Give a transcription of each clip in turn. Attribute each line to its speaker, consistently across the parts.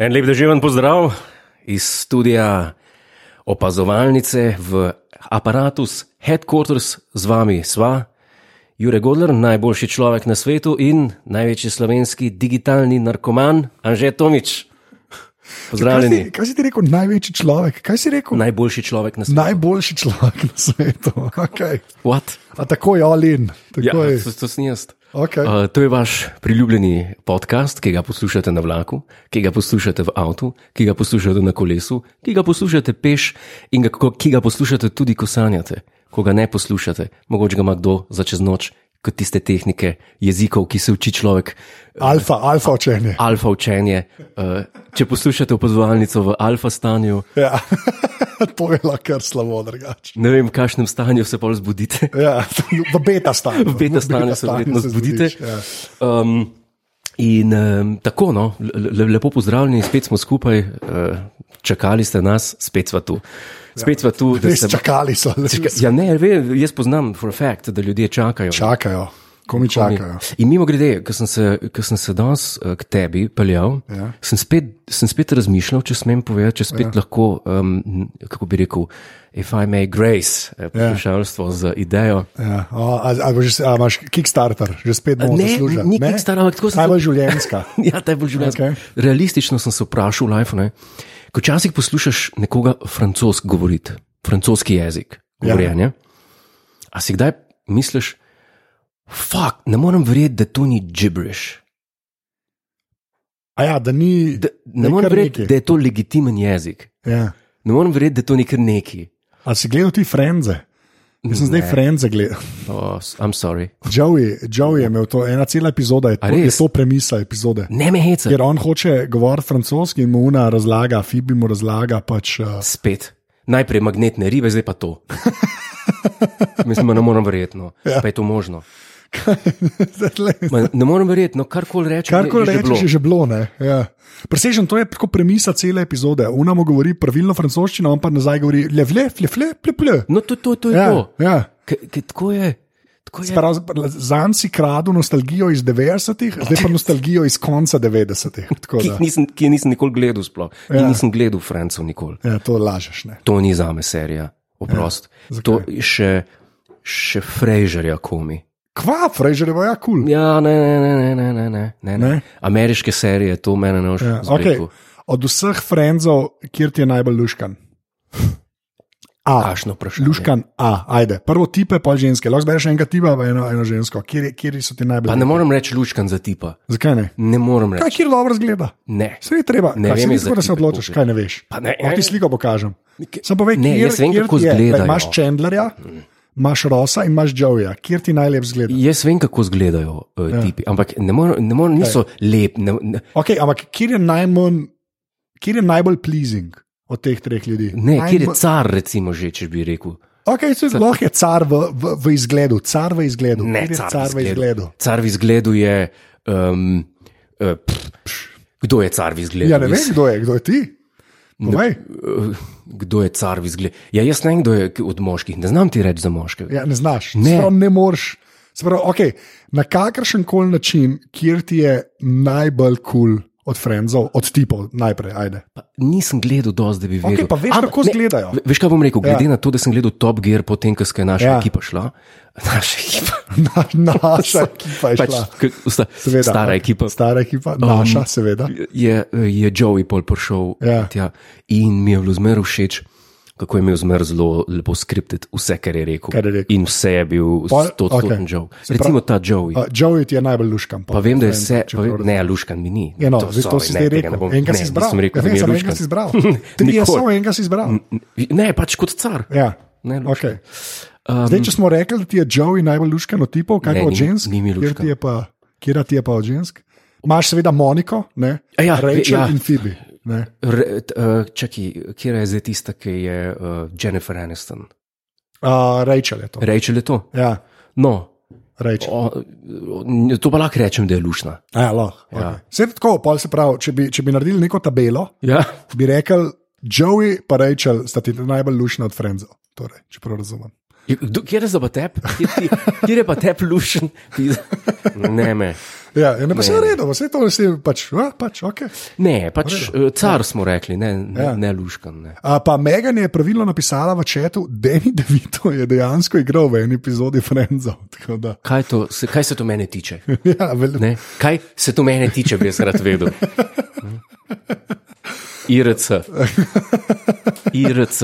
Speaker 1: En lep doživen pozdrav iz studia opazovalnice v aparatus Headquarters z vami sva. Jure Godler, najboljši človek na svetu in največji slovenski digitalni narkoman Anže Tomič.
Speaker 2: Kaj si,
Speaker 1: Pozdravljeni,
Speaker 2: kaj si ti rekel, največji človek? Kaj si rekel?
Speaker 1: najboljši človek na svetu.
Speaker 2: Najboljši človek na svetu. Okay.
Speaker 1: What?
Speaker 2: A tako je Olin.
Speaker 1: Ja,
Speaker 2: Tako je.
Speaker 1: to, to sem jaz.
Speaker 2: Okej.
Speaker 1: Uh, to je vaš priljubljeni podcast, ki ga poslušate na vlaku, ki ga poslušate v avtu, ki ga poslušate na kolesu, ki ga poslušate peš in ga, ko- ki ga poslušate tudi, ko sanjate. Ko ga ne poslušate, mogoče ga ima kdo za čez noč, kot tiste tehnike jezikov, ki se uči človek,
Speaker 2: Alfa, alfa učenje.
Speaker 1: alfa učenje. Uh, če poslušate opozovalnico v alfa stanju,
Speaker 2: Ja. to je lahko kar slabo drugače.
Speaker 1: ne vem, v kakšnem stanju se pol zbudite.
Speaker 2: Ja, v beta stanju. ja.
Speaker 1: v beta stanju se verjetno ja. zbudite. Um, in um, tako, no, le, le- lepo pozdravljeni, spet smo skupaj, uh, čakali ste nas, spet smo tu. Spet smo tu, da
Speaker 2: Res
Speaker 1: se.
Speaker 2: čakali so, res
Speaker 1: Ja, ne, ve, jaz poznam for a fact, da ljudje čakajo.
Speaker 2: čakajo, komi čakajo.
Speaker 1: In mimo grede, ko sem se, ko sem se danes eh, k tebi peljal, ja.
Speaker 2: Ja.
Speaker 1: sem, spet, sem spet razmišljal, če smem povedati, če spet ja. lahko, um, kako bi rekel, if I may grace, eh, poslušalstvo ja. z idejo.
Speaker 2: Ja. O, a, a, boš- a imaš Kickstarter, že spet bomo
Speaker 1: Ne,
Speaker 2: zaslužili.
Speaker 1: ni Kickstarter, ampak tako sem
Speaker 2: Najbolj
Speaker 1: to-
Speaker 2: življenjska.
Speaker 1: Ja, ta je bolj življenjska.
Speaker 2: Okej.
Speaker 1: Okay. Realistično sem se vprašal v Life. Ne? Ko včasih poslušaš nekoga francosk govoriti, francoski jezik,
Speaker 2: Ja.
Speaker 1: govorjenje, ja. a si kdaj misliš, fuck, ne morem verjeti, da to ni gibberish.
Speaker 2: A ja, da ni.
Speaker 1: Da,
Speaker 2: da
Speaker 1: ne
Speaker 2: je
Speaker 1: morem
Speaker 2: kar
Speaker 1: verjeti,
Speaker 2: nekaj.
Speaker 1: da je to legitimen jezik.
Speaker 2: Ja.
Speaker 1: Ne morem verjeti, da to ni kar neki.
Speaker 2: A si gledal ti frenze? Jaz sem zdaj frenze gledal.
Speaker 1: Oh, s- I'm sorry.
Speaker 2: Joey, Joey je imel to, ena cela epizoda je to,
Speaker 1: A res?
Speaker 2: je to premisa epizode.
Speaker 1: Ne me heca.
Speaker 2: Ker on hoče govoriti francoski in mu una razlaga, Fibi mu razlaga. Pač, uh,
Speaker 1: Spet. Najprej magnetne ribe, zdaj pa to. Mislim, da ne morem verjeti, no. ja. pa je to možno. Ma, ne morem verjeti, no, karkoli rečem. je-
Speaker 2: Karkoli
Speaker 1: je že bilo.
Speaker 2: rečeš, je že bilo. ne, Ja. Presežen, to je tako premisa cele epizode. Una mu govori pravilno francoščino, on pa nazaj govori le vle, le vle, le vle.
Speaker 1: No, to, to, to je ja.
Speaker 2: Ja,
Speaker 1: to.
Speaker 2: ja.
Speaker 1: K, k, tako je. Tako je.
Speaker 2: Zanj si kradel nostalgijo iz 90-ih, zdaj pa nostalgijo iz konca 90-ih. tako
Speaker 1: Ki
Speaker 2: da,
Speaker 1: jih nisem, ki je nisem nikoli gledal, sploh. Ja.
Speaker 2: Ja.
Speaker 1: Nisem gledal Franco nikoli.
Speaker 2: Ja, to lažeš. Ne.
Speaker 1: To ni za me serija, oprost. Ja.
Speaker 2: zakaj?
Speaker 1: To še, še Frejžerja komi.
Speaker 2: Kva, Frejžereva, ja, kul. Cool.
Speaker 1: Ja, ne, ne, ne, ne, ne, ne, ne, ne, ne.
Speaker 2: Ne?
Speaker 1: Ameriške serije, to mene ne boš
Speaker 2: Ja,
Speaker 1: okay.
Speaker 2: okay. Od vseh frenzov, kjer ti je najbolj luškan? A.
Speaker 1: Kašno vprašanje.
Speaker 2: Luškan A, ajde. Prvo tipe, pa ženske. Lahko zdaj še enega tipa, pa eno, eno žensko. Kjer, je- kjer so ti
Speaker 1: Pa
Speaker 2: najbolj?
Speaker 1: ne morem reči lučkan za tipa.
Speaker 2: Zakaj ne?
Speaker 1: Ne morem reči.
Speaker 2: Kaj, kjer dobro zgleda?
Speaker 1: Ne.
Speaker 2: Se je treba,
Speaker 1: Ne
Speaker 2: ne
Speaker 1: vem,
Speaker 2: vem,
Speaker 1: jaz za
Speaker 2: kako da se
Speaker 1: tipe
Speaker 2: odločiš,
Speaker 1: kupim.
Speaker 2: kaj ne veš.
Speaker 1: Pa ne,
Speaker 2: Lahko
Speaker 1: ne.
Speaker 2: ti sliko pokažem.
Speaker 1: Ke-
Speaker 2: Sam povej,
Speaker 1: Ne,
Speaker 2: kjer,
Speaker 1: jaz vem,
Speaker 2: kjer
Speaker 1: kako
Speaker 2: ti je. Glej,
Speaker 1: izgledajo. Mm.
Speaker 2: Imaš Chandlerja, imaš Rosa in imaš Joeja. Kjer ti najlep zgleda?
Speaker 1: Jaz vem, kako izgledajo uh, ja. tipi, ampak ne morem, ne morem niso lep. Ne, ne,
Speaker 2: Okay, ampak kjer je najmanj, kjer je najbolj pleasing od teh treh ljudi?
Speaker 1: ne kjer je
Speaker 2: Najbolj-
Speaker 1: car, recimo, že če bi rekel.
Speaker 2: Okay, so, lahko je car v, v, v izgledu, car v izgledu.
Speaker 1: Ne,
Speaker 2: Kjer je car v izgledu.
Speaker 1: Car v izgledu je. Um, uh, pff, pff, kdo je car v izgledu?
Speaker 2: Ja, ne vem,
Speaker 1: Jaz-
Speaker 2: kdo je, kdo je ti. Povej.
Speaker 1: eh, Kdo je car v izgledu? Ja, jaz ne vem, kdo je k- od moških. Ne znam ti reči za moške.
Speaker 2: Ja, ne znaš,
Speaker 1: Ne.
Speaker 2: ne, Sprav, ne moreš. Se pravi, okay, na kakršen koli način, kjer ti je najbolj kul cool od frenzov, od tipov, najprej. Ajde.
Speaker 1: Pa nisem gledal dosti, da bi vedel.
Speaker 2: pa veš,
Speaker 1: Ampak
Speaker 2: kako
Speaker 1: ne,
Speaker 2: izgledajo.
Speaker 1: ve- Veš, kaj bom rekel? Glede ja. na to, da sem gledal Top Gear, potem, ko je naša ja.
Speaker 2: Ja.
Speaker 1: ekipa šla, naša ekipa.
Speaker 2: Na, naša ekipa je šla.
Speaker 1: k- sta,
Speaker 2: Seveda.
Speaker 1: Pač stara ekipa.
Speaker 2: Stara ekipa, naša, um, seveda.
Speaker 1: je, je Joey pol prišel ja.
Speaker 2: Ja.
Speaker 1: tja in mi je bilo zmeraj všeč. Kako je imel zmeraj zelo lepo skriptet, vse, kar je rekel.
Speaker 2: Kar je rekel.
Speaker 1: In vse je bil
Speaker 2: Pol-
Speaker 1: stototen
Speaker 2: okej.
Speaker 1: okay. Joe.
Speaker 2: Se pravi-
Speaker 1: Recimo ta Joey.
Speaker 2: Uh, Joey ti je najbolj luškan.
Speaker 1: Pa vem, da je vse, pa vem, ne, Luškan mi ni.
Speaker 2: Ja, no,
Speaker 1: To,
Speaker 2: zdaj, to
Speaker 1: sorry,
Speaker 2: si
Speaker 1: ne,
Speaker 2: zdaj
Speaker 1: tega
Speaker 2: rekel.
Speaker 1: ne bom-
Speaker 2: Enega
Speaker 1: ne,
Speaker 2: si izbral.
Speaker 1: nisem rekel,
Speaker 2: ja,
Speaker 1: da mi
Speaker 2: vem,
Speaker 1: je
Speaker 2: samo enega
Speaker 1: Luškan.
Speaker 2: si izbral. Ti je
Speaker 1: Nikoli.
Speaker 2: samo enega si izbral.
Speaker 1: Ne, pač kot car.
Speaker 2: Ja.
Speaker 1: Ne, Luškan.
Speaker 2: Okay. Zdaj, če smo rekli, da ti je Joey najbolj luškan od tipov, kaj
Speaker 1: Ne,
Speaker 2: pa od
Speaker 1: ni-
Speaker 2: žensk,
Speaker 1: ni mi
Speaker 2: kjer
Speaker 1: luškan.
Speaker 2: ti je pa, kjer ti je pa od žensk? Imaš seveda Moniko, ne?
Speaker 1: A ja,
Speaker 2: Rachel
Speaker 1: ja.
Speaker 2: in Phoebe. Ne?
Speaker 1: Re, t, uh, čaki, kje je zdaj tista, ki je uh, Jennifer Aniston?
Speaker 2: Uh, Rachel je to.
Speaker 1: Rachel je to.
Speaker 2: Ja,
Speaker 1: No,
Speaker 2: Rachel.
Speaker 1: o, o, to pa lahko rečem, da je lušna.
Speaker 2: A, ja, lahko.
Speaker 1: Ja.
Speaker 2: Okay. Vse tako, pol se pravi, če bi, če bi naredili neko tabelo,
Speaker 1: Ja.
Speaker 2: bi rekel, Joey pa Rachel sta ti najbolj lušna od Frenzov. Torej, če prav razumem.
Speaker 1: Kdo- Kjer je zdaj pa tep, kjer, ti- kjer je pa tep lušen? Ti- Ne, me.
Speaker 2: Ja, ja, ne, pa se je redo, vse to vse pač, a, pač ok.
Speaker 1: ne, pač eh, car smo rekli, ne, ne,
Speaker 2: Ja.
Speaker 1: ne luškan. Ne.
Speaker 2: A, pa Megan je pravilno napisala v četu, Deni Devito je dejansko igral v eni epizodi Friendzov. tako da.
Speaker 1: Kaj, to, se, kaj se to mene tiče?
Speaker 2: Ja, vel,
Speaker 1: Ne? Kaj se to mene tiče, bi jaz rad vedel? Hm? IRC. IRC.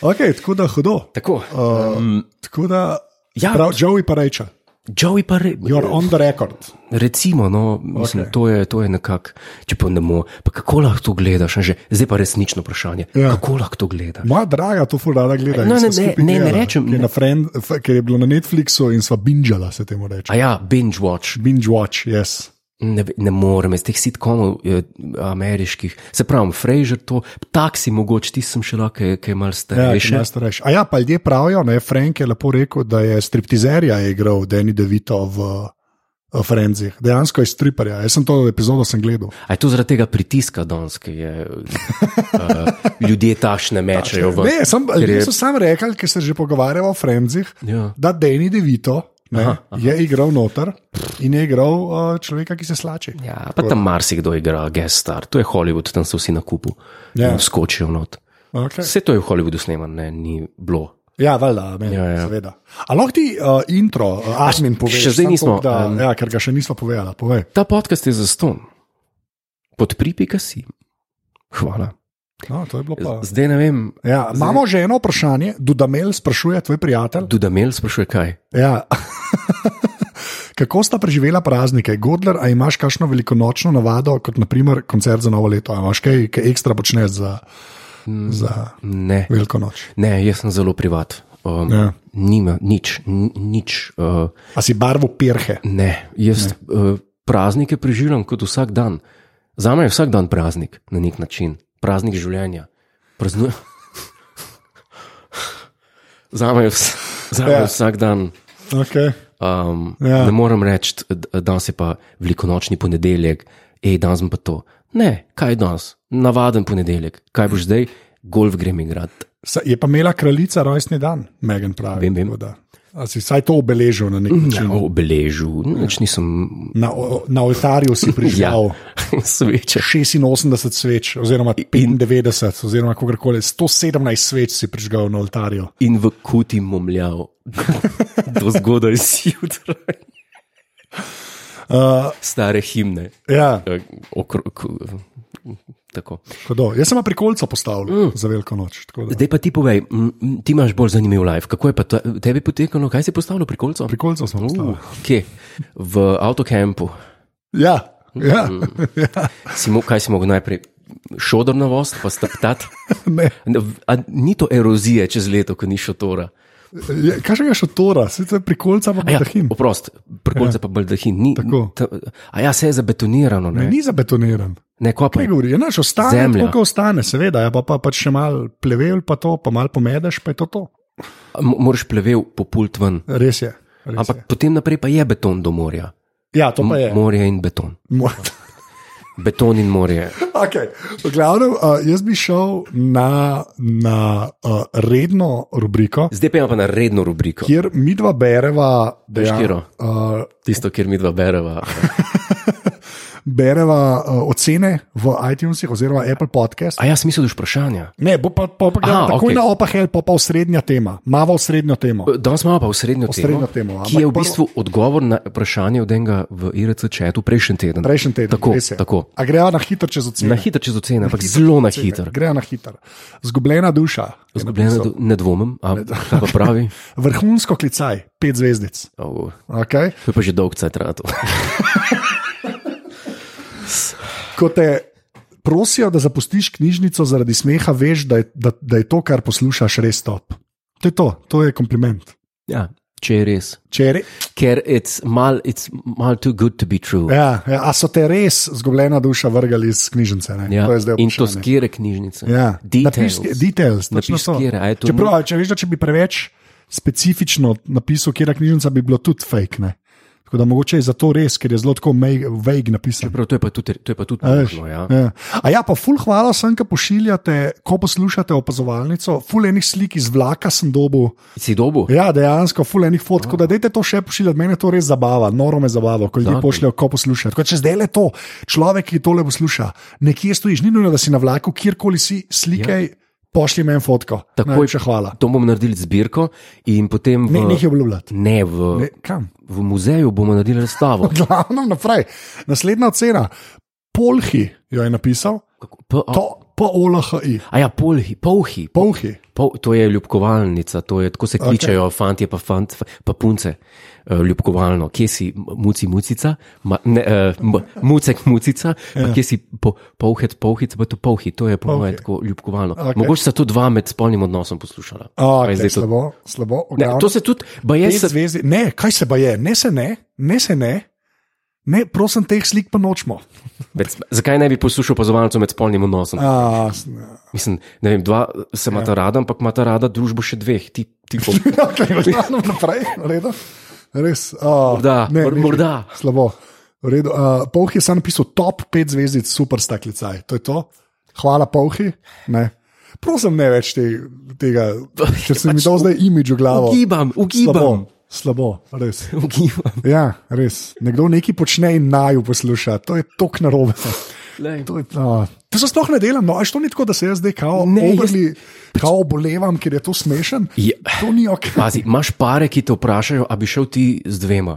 Speaker 2: okay, tako da hudo.
Speaker 1: Tako,
Speaker 2: Uh, tako da,
Speaker 1: Um, Ja.
Speaker 2: ja, prav, Joey pa reče,
Speaker 1: Joey pa reče.
Speaker 2: you're on the record.
Speaker 1: Recimo, no, mislim, okay.
Speaker 2: Okej.
Speaker 1: to je, to je nekako, če pa ne moreš. Kako lahko to gledaš, ne, že? zdaj pa resnično vprašanje. Ja.
Speaker 2: Ja.
Speaker 1: Kako lahko to gledaš?
Speaker 2: Moja draga, to fulada gleda.
Speaker 1: No, ne,
Speaker 2: in sva
Speaker 1: ne,
Speaker 2: skupaj
Speaker 1: ne, ne
Speaker 2: gledala,
Speaker 1: rečem,
Speaker 2: Ker je,
Speaker 1: ne.
Speaker 2: na friend, f- ker je bilo na Netflixu in sva binžala, se temu reče.
Speaker 1: A ja, binge watch,
Speaker 2: Binge watch, yes.
Speaker 1: ne, ve- ne morem, iz teh sitkomov eh, ameriških, se pravi, Fraser, to, taksi mogoče, ti sem še lahko, ki je malce
Speaker 2: Ja,
Speaker 1: starejši.
Speaker 2: še starejši. A ja, pa ljudje pravijo, ne, Frank je lepo rekel, da je striptizerja je igral Deni Devito v, v Frenzih. Dejansko je striperja. Jaz sem to epizodo sem gledal.
Speaker 1: A je to zaradi tega pritiska danes, ki je uh, ljudje tašne mečejo v
Speaker 2: Ne, sem,
Speaker 1: ker je-
Speaker 2: ljudje so sam rekli, ker se že pogovarjamo o Frenzih,
Speaker 1: Ja.
Speaker 2: da Deni Devito ne, aha, aha. je igral noter in je igral uh, človeka, ki se slači.
Speaker 1: Ja, pa tam marsikdo igra, gestar, to je Hollywood, tam so vsi na kupu,
Speaker 2: Ja.
Speaker 1: ja. skočijo not.
Speaker 2: Okay.
Speaker 1: Vse to je v Hollywoodu snemano, ne, ni bilo.
Speaker 2: Ja, valjda, meni,
Speaker 1: Ja,
Speaker 2: ja,
Speaker 1: ja.
Speaker 2: ja. seveda. Ali lahko ti uh, intro, uh, admin poveš?
Speaker 1: še zdaj
Speaker 2: samo
Speaker 1: nismo,
Speaker 2: toliko, Da,
Speaker 1: em,
Speaker 2: um, ja, ker ga še nismo povedali. Povej.
Speaker 1: Ta podcast je za ston. Podpripika si. Hvala.
Speaker 2: No, to je bilo pa.
Speaker 1: Zdaj ne vem,
Speaker 2: Ja, imamo že eno vprašanje, Dudamel sprašuje, tvoj prijatelj.
Speaker 1: Dudamel sprašuje kaj.
Speaker 2: Ja. Kako sta preživela praznike? Godler, a imaš kakšno velikonočno navado, kot naprimer koncert za novo leto? A imaš kaj, kaj ekstra počneš za,
Speaker 1: Hmm.
Speaker 2: za
Speaker 1: Ne,
Speaker 2: veliko noč?
Speaker 1: ne jaz sem zelo privat. Um, ja.
Speaker 2: Ja.
Speaker 1: Nima nič, ni- nič. Uh,
Speaker 2: A si barvo pirhe?
Speaker 1: Ne, jaz ne. Uh, praznike preživljam kot vsak dan. Za me je vsak dan praznik na nek način, praznik življenja. Praznujem. Za me je, vs za me je
Speaker 2: Ja.
Speaker 1: vsak dan.
Speaker 2: Okay.
Speaker 1: Um, ja.
Speaker 2: Ja.
Speaker 1: Ne morem reči, da danes je pa velikonočni ponedeljek, hej, danes bom pa to. Ne, kaj je danes? Navaden ponedeljek. Kaj boš zdaj? Golf grem igrati.
Speaker 2: Je pa imela kraljica rojstni dan, Megan pravi.
Speaker 1: Vem, Ja. vem.
Speaker 2: tako da. A si vsaj to obeležil na nek način?
Speaker 1: O beležu, nič nisem.
Speaker 2: Na, o- na oltarju si
Speaker 1: Ja.
Speaker 2: prižgal
Speaker 1: sveče.
Speaker 2: 86 sveč, oziroma 95, oziroma kakorkoli, 117 sveč si prižgal na oltarju.
Speaker 1: in v kuti momljal do zgodaj zjutraj.
Speaker 2: Uh,
Speaker 1: Stare himne.
Speaker 2: ja,
Speaker 1: eh, Okro, ku- tako.
Speaker 2: hudo. Jaz sem pa prikolico postavil mm. za veliko noč. tako da.
Speaker 1: Zdaj pa ti povej, m, m, ti imaš bolj zanimiv life. Kako je pa ta, tebi potekalo, kaj si postavil pri kolcu?
Speaker 2: Prikolico sem
Speaker 1: Uh,
Speaker 2: postavil.
Speaker 1: kje? V avtokampu.
Speaker 2: Ja, ja.
Speaker 1: Mm.
Speaker 2: ja.
Speaker 1: Si mo, kaj si mogel najprej? Šodor na voz, pa steptat.
Speaker 2: Ne.
Speaker 1: Ni to erozije čez leto, ko ni šotora.
Speaker 2: Je- Kaj še je še tora, sicer prikolica pa
Speaker 1: A Ja,
Speaker 2: baldahin.
Speaker 1: oprost, prkolce ja. pa baldahin. Ni,
Speaker 2: Tako.
Speaker 1: ta, a ja, se je zabetonirano, ne?
Speaker 2: Ni zabetoniran.
Speaker 1: Ne, kopa.
Speaker 2: Kaj govori, je naš ostane,
Speaker 1: Zemlja.
Speaker 2: tako kot ostane, seveda, ja, pa, pa, pa še mal plevel, pa to, pa mal pomedeš, pa je to to.
Speaker 1: M- Moraš plevel popult ven.
Speaker 2: Res je. Res
Speaker 1: Ampak
Speaker 2: je.
Speaker 1: potem naprej pa je beton do morja.
Speaker 2: Ja, to Ja. pa je.
Speaker 1: Morje in beton.
Speaker 2: Mo-
Speaker 1: Beton in morje.
Speaker 2: Okay. V glavnem, uh, jaz bi šel na, na uh, redno rubriko,
Speaker 1: Zdaj pa imamo pa na redno rubriko,
Speaker 2: kjer mi dva bereva,
Speaker 1: Katero?
Speaker 2: dejan, uh,
Speaker 1: tisto, kjer mi dva bereva.
Speaker 2: bereva uh, ocene v iTunesih oziroma Apple podcast.
Speaker 1: A jaz mislim, da je vprašanje.
Speaker 2: Ne, bo pa, pa, pa
Speaker 1: Aha,
Speaker 2: Aha, takoj
Speaker 1: okej.
Speaker 2: okay. na opahel, pa pa osrednja tema, mava osrednjo temo.
Speaker 1: Danes imamo pa osrednjo temo,
Speaker 2: Osrednjo temo,
Speaker 1: ki je v
Speaker 2: ampak
Speaker 1: bistvu odgovor na vprašanje od enega v IRC četu prejšnji teden.
Speaker 2: Prejšnji teden.
Speaker 1: Tako,
Speaker 2: res je. Ja.
Speaker 1: tako.
Speaker 2: A greva na hitro čez ocene?
Speaker 1: Na hitro čez ocene, ampak zelo na hitro.
Speaker 2: Greva na hitro. Zgubljena duša. je
Speaker 1: Zgubljena,
Speaker 2: napisal.
Speaker 1: do- ne dvomim, ampak kaj pa pravi.
Speaker 2: Vrhunsko klicaj, pet zvezdic.
Speaker 1: Oh,
Speaker 2: Okay.
Speaker 1: to je pa že dolg cajt trato.
Speaker 2: Ko te prosijo, da zapustiš knjižnico zaradi smeha, veš, da je, da, da je to, kar poslušaš, res top. To je to, to je kompliment.
Speaker 1: Ja, če je res.
Speaker 2: Če je re-
Speaker 1: Ker it's mal, it's mal too good to be true.
Speaker 2: Ja, ja, a so te res zgubljena duša vrgli iz knjižnice? Ne?
Speaker 1: Ja,
Speaker 2: To je zdaj
Speaker 1: in to
Speaker 2: vprašanje.
Speaker 1: skire knjižnice.
Speaker 2: Ja.
Speaker 1: Details.
Speaker 2: Napiš ske- details, točno
Speaker 1: Napiš
Speaker 2: to.
Speaker 1: skire, a je to
Speaker 2: Čeprav, a če veš, da če bi preveč specifično napisal, kje je knjižnica, bi bilo tudi fake. Ne? Tako da mogoče je zato res, ker je zelo tako vague napisan.
Speaker 1: Prav, to je pa tudi, to je pa tudi
Speaker 2: A veš,
Speaker 1: možno. Ja.
Speaker 2: ja. A ja, pa ful, hvala sem, ki pošiljate, ko poslušate opazovalnico. Ful enih slik iz vlaka sem dobil.
Speaker 1: Si dobil?
Speaker 2: Ja, dejansko, ful enih fotk. Tako da dajte to še pošiljati, meni je to res zabava, noro me zabava, ko ljudje
Speaker 1: Zakon.
Speaker 2: pošljajo, ko poslušajo. Tako da če zdaj le to, človek, ki tole posluša, nekje stojiš, ni nujno, da si na vlaku, kjerkoli si, slikaj, ja. pošlji meni fotko.
Speaker 1: Takoj.
Speaker 2: Najlepša hvala.
Speaker 1: To bom naredil zbirko in potem.
Speaker 2: Ne,
Speaker 1: v-
Speaker 2: nehaj obljubljati.
Speaker 1: Ne, v,
Speaker 2: Ne, kam?
Speaker 1: v muzeju bomo naredili razstavo.
Speaker 2: Glavno naprej. Naslednja ocena. Polhi jo je napisal,
Speaker 1: Kako- P- a-
Speaker 2: to P-O-L-H-I.
Speaker 1: A ja, polhi, polhi. Po,
Speaker 2: Polhi.
Speaker 1: pol, to je ljubkovalnica, to je, tako se okay. kličejo fanti, pa, fant, pa punce, uh, ljubkovalno. Kje si m- muci, mucica, ma, ne, uh, mucek, mucica, ja. kje si po, polhet, polhit, pa to polhi, to je po mojem tako ljubkovalno. Okay. Mogoče sta to dva med spolnim odnosom poslušala. Pa
Speaker 2: Oh,
Speaker 1: je
Speaker 2: okay,
Speaker 1: zdaj to,
Speaker 2: slabo, slabo. v
Speaker 1: ne,
Speaker 2: glavnem.
Speaker 1: to se tudi, baje
Speaker 2: Te
Speaker 1: se.
Speaker 2: zvezi, ne, kaj se pa je, ne se ne, ne se ne, ne prosim, teh slik pa nočemo.
Speaker 1: Med, zakaj ne bi poslušal opazovalcev med spolnim odnosom?
Speaker 2: A, s- ne.
Speaker 1: Mislim, ne vem, dva se imata ja. rada, ampak imata rada družbo še dveh, ti, ti pol.
Speaker 2: okay, v glavnem naprej, v redu. Res. A,
Speaker 1: Morda,
Speaker 2: ne,
Speaker 1: mor-
Speaker 2: nehaj.
Speaker 1: morda.
Speaker 2: Slabo. V redu. A, Povhi je sam napisal top 5 zvezdic, super staklicaj. To je to. Hvala, Povhi. Ne. Prosim, ne več te, tega, ker sem mi dal zdaj imidž v glavo.
Speaker 1: pač Ugibam, ugibam,
Speaker 2: Slabo, slabo, res.
Speaker 1: ugibam.
Speaker 2: Ja, res. Nekdo nekaj počne in naj jo posluša. To je tok narobe.
Speaker 1: Lej.
Speaker 2: To, je, a, to se sploh ne delam, no, až to ni tako, da se jaz zdaj kao,
Speaker 1: Ne,
Speaker 2: ne,
Speaker 1: jaz- pač- Ja.
Speaker 2: overly, jaz... kao bolevam, ker je to smešen.
Speaker 1: Je.
Speaker 2: To ni ok.
Speaker 1: Pazi, imaš pare, ki te vprašajo, a bi šel ti z dvema.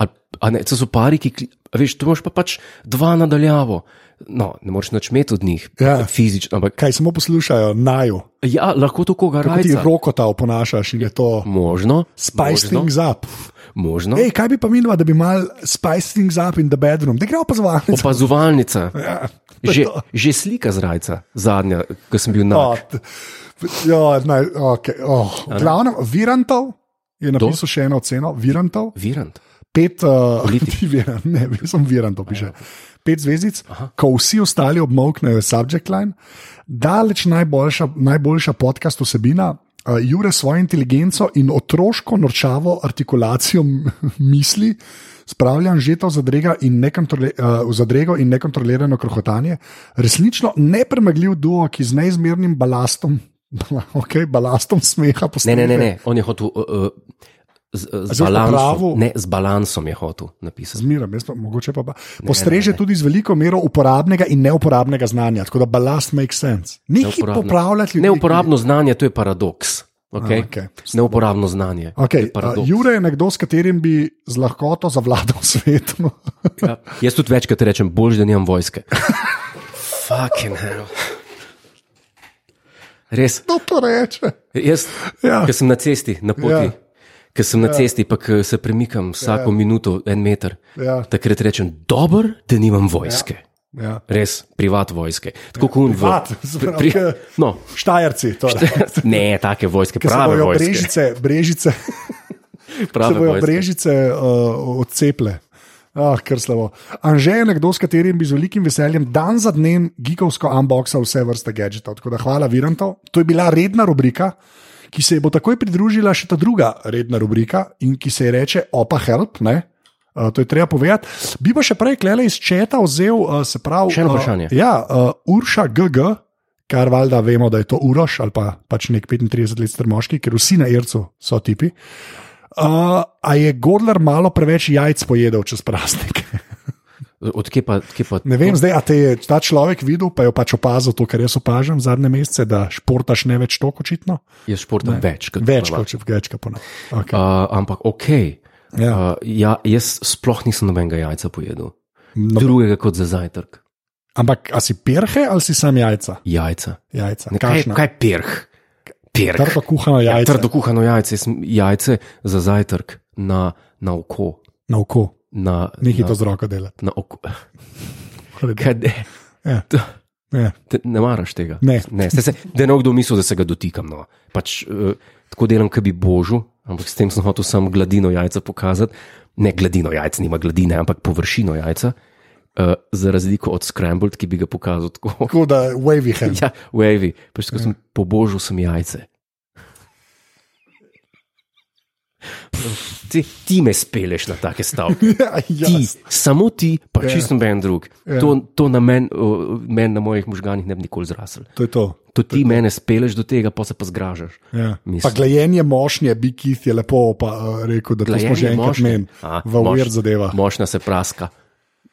Speaker 1: A, a ne, to so pari, ki, kli- a veš, tu imaš pa pač dva nadaljavo. No, ne moreš nič imeti od njih,
Speaker 2: Ja.
Speaker 1: fizično, ampak
Speaker 2: Kaj samo poslušajo, naju.
Speaker 1: ja, lahko to koga
Speaker 2: Kako ti
Speaker 1: radi.
Speaker 2: rokota oponašaš in je to
Speaker 1: Možno,
Speaker 2: spice
Speaker 1: možno,
Speaker 2: things up.
Speaker 1: možno.
Speaker 2: Ej, kaj bi pa minila, da bi mal spice things up in the bedroom? Da gremo pa zvati.
Speaker 1: Opazovalnica,
Speaker 2: Ja, to
Speaker 1: že,
Speaker 2: je to.
Speaker 1: že slika zrajca, zadnja, ko sem bil
Speaker 2: O,
Speaker 1: na.
Speaker 2: t- Jo, Ja, naj, okay, oh. V Glavnem, Virantov je napisal še eno ceno, Virantov.
Speaker 1: Virant.
Speaker 2: pet, uh,
Speaker 1: Politik. Ja.
Speaker 2: ti viran, ne, bil sem viran, to piše. Pet zvezdic, Aha. ko vsi ostali obmoknejo subject line, daleč najboljša, najboljša podcast vsebina. Uh, Jure s svojo inteligenco in otroško norčavo artikulacijo m- misli, spravljam žeto zadrega in nekontrole, uh, v zadrego in nekontrolirano krohotanje. Resnično nepremagljiv duo, ki z neizmernim balastom, okay, balastom smeha
Speaker 1: Ne,
Speaker 2: postane.
Speaker 1: ne, ne, ne, on je hotel. Uh, uh, Z, eh, z,
Speaker 2: zdaj pa
Speaker 1: balansom,
Speaker 2: pravo?
Speaker 1: ne, z balansom je hotel napisati.
Speaker 2: Zmeram, jaz pa mogoče pa. pa. Postreže tudi z veliko mero uporabnega in neuporabnega znanja, tako da balast makes sense. Pač Nekaj
Speaker 1: Neuporabno.
Speaker 2: popravljati ljudi.
Speaker 1: Neuporabno znanje, to je paradoks. Okay?
Speaker 2: A, okej.
Speaker 1: Neuporabno znanje. to je
Speaker 2: Okay,
Speaker 1: paradoks.
Speaker 2: uh, Jure je nekdo, s katerim bi z lahkoto zavladal No, svetom.
Speaker 1: Ja, jaz tudi večkrat rečem, bolj da nimam vojske. Fucking hell. Res.
Speaker 2: Kdo to reče?
Speaker 1: Jaz, ja.
Speaker 2: Ja.
Speaker 1: ki sem na cesti, na poti.
Speaker 2: Ja.
Speaker 1: Ja. Ker sem na cesti, pa ke se premikam vsako ja. minuto, en meter.
Speaker 2: Ja.
Speaker 1: Takrat rečem, dobro, da nimam vojske. Ja.
Speaker 2: Ja.
Speaker 1: Res, privat vojske. Tako kot v
Speaker 2: Privat, se pravi, ke-
Speaker 1: No,
Speaker 2: Štajerci, torej.
Speaker 1: ne, take vojske,
Speaker 2: Ker se
Speaker 1: prave
Speaker 2: bojo
Speaker 1: vojske.
Speaker 2: brežice, brežice, se
Speaker 1: Prave
Speaker 2: bojo
Speaker 1: vojske.
Speaker 2: brežice uh, odceple. Ah, kar slabo. Anže je nekdo, s katerim bi z velikim veseljem dan za dnem gigovsko unboxal vse vrste gadgetov. Tako da hvala, Virantov. To je bila redna rubrika, ki se je bo takoj pridružila še ta druga redna rubrika in ki se ji reče Opa Help. Ne? Uh, to je treba povedati. Bi pa še prej klele iz četa vzel, uh, se pravi.
Speaker 1: Še eno vprašanje.
Speaker 2: Uh, ja, uh, Urša GG, kar valjda vemo, da je to Uroš ali pa pač nek 35 let star moški, ker vsi na Ircu so tipi. Uh, a je Gordler malo preveč jajc pojedel čez praznike?
Speaker 1: Od kje pa, kje pa
Speaker 2: Ne vem, zdaj, a te je ta človek videl, pa je pač opazil to, kar jaz opažam zadnje mesece, da športaš ne več toliko očitno.
Speaker 1: je športa ne. več kot
Speaker 2: Več
Speaker 1: ponavadi.
Speaker 2: kot če vgečka ponavadi. Okay.
Speaker 1: Uh, ampak ok.
Speaker 2: Ja.
Speaker 1: Uh, ja, jaz sploh nisem nobenega jajca pojedel.
Speaker 2: No,
Speaker 1: Drugega kot za zajtrk.
Speaker 2: ampak a si perhe ali si sam jajca?
Speaker 1: Jajca.
Speaker 2: Jajca.
Speaker 1: Ne, kaj,
Speaker 2: Kakšna?
Speaker 1: kaj je pirh? Pirh.
Speaker 2: Trdo kuhano jajce
Speaker 1: Trdo kuhano jajce, jaz sem jajce za zajtrk na, na oko.
Speaker 2: na oko.
Speaker 1: Na,
Speaker 2: Nekaj
Speaker 1: na,
Speaker 2: to z roko delati.
Speaker 1: na oko.
Speaker 2: Hredi.
Speaker 1: Kaj, ne,
Speaker 2: Ja.
Speaker 1: to,
Speaker 2: Ja.
Speaker 1: te, ne maraš tega.
Speaker 2: Ne.
Speaker 1: ne saj se, da je nekdo mislil, da se ga dotikam. No. Pač, uh, tako delam, kot bi božil, ampak s tem sem hotel samo gladino jajca pokazati. Ne gladino jajca, nima gladine, ampak površino jajca, uh, za razliko od Scrambled, ki bi ga pokazal tako.
Speaker 2: Tako da wavy hand.
Speaker 1: Ja, wavy, pač ko sem pobožil, sem jajce. Ti, ti me speleš na take stavke.
Speaker 2: Ja,
Speaker 1: Ti,
Speaker 2: jasno.
Speaker 1: samo ti, pa
Speaker 2: Ja.
Speaker 1: yeah. čist noben drug.
Speaker 2: Ja.
Speaker 1: Yeah. To, to na meni, men na mojih možganjih ne bi nikoli zrasel.
Speaker 2: To je to.
Speaker 1: To ti mene speleš do tega, pa se pa zgražaš.
Speaker 2: Ja. Pa
Speaker 1: Mislim.
Speaker 2: glajenje mošnje, Big Keith je lepo pa, uh, rekel, da to smo že enkrat menili v ujer zadeva.
Speaker 1: Mošna se praska,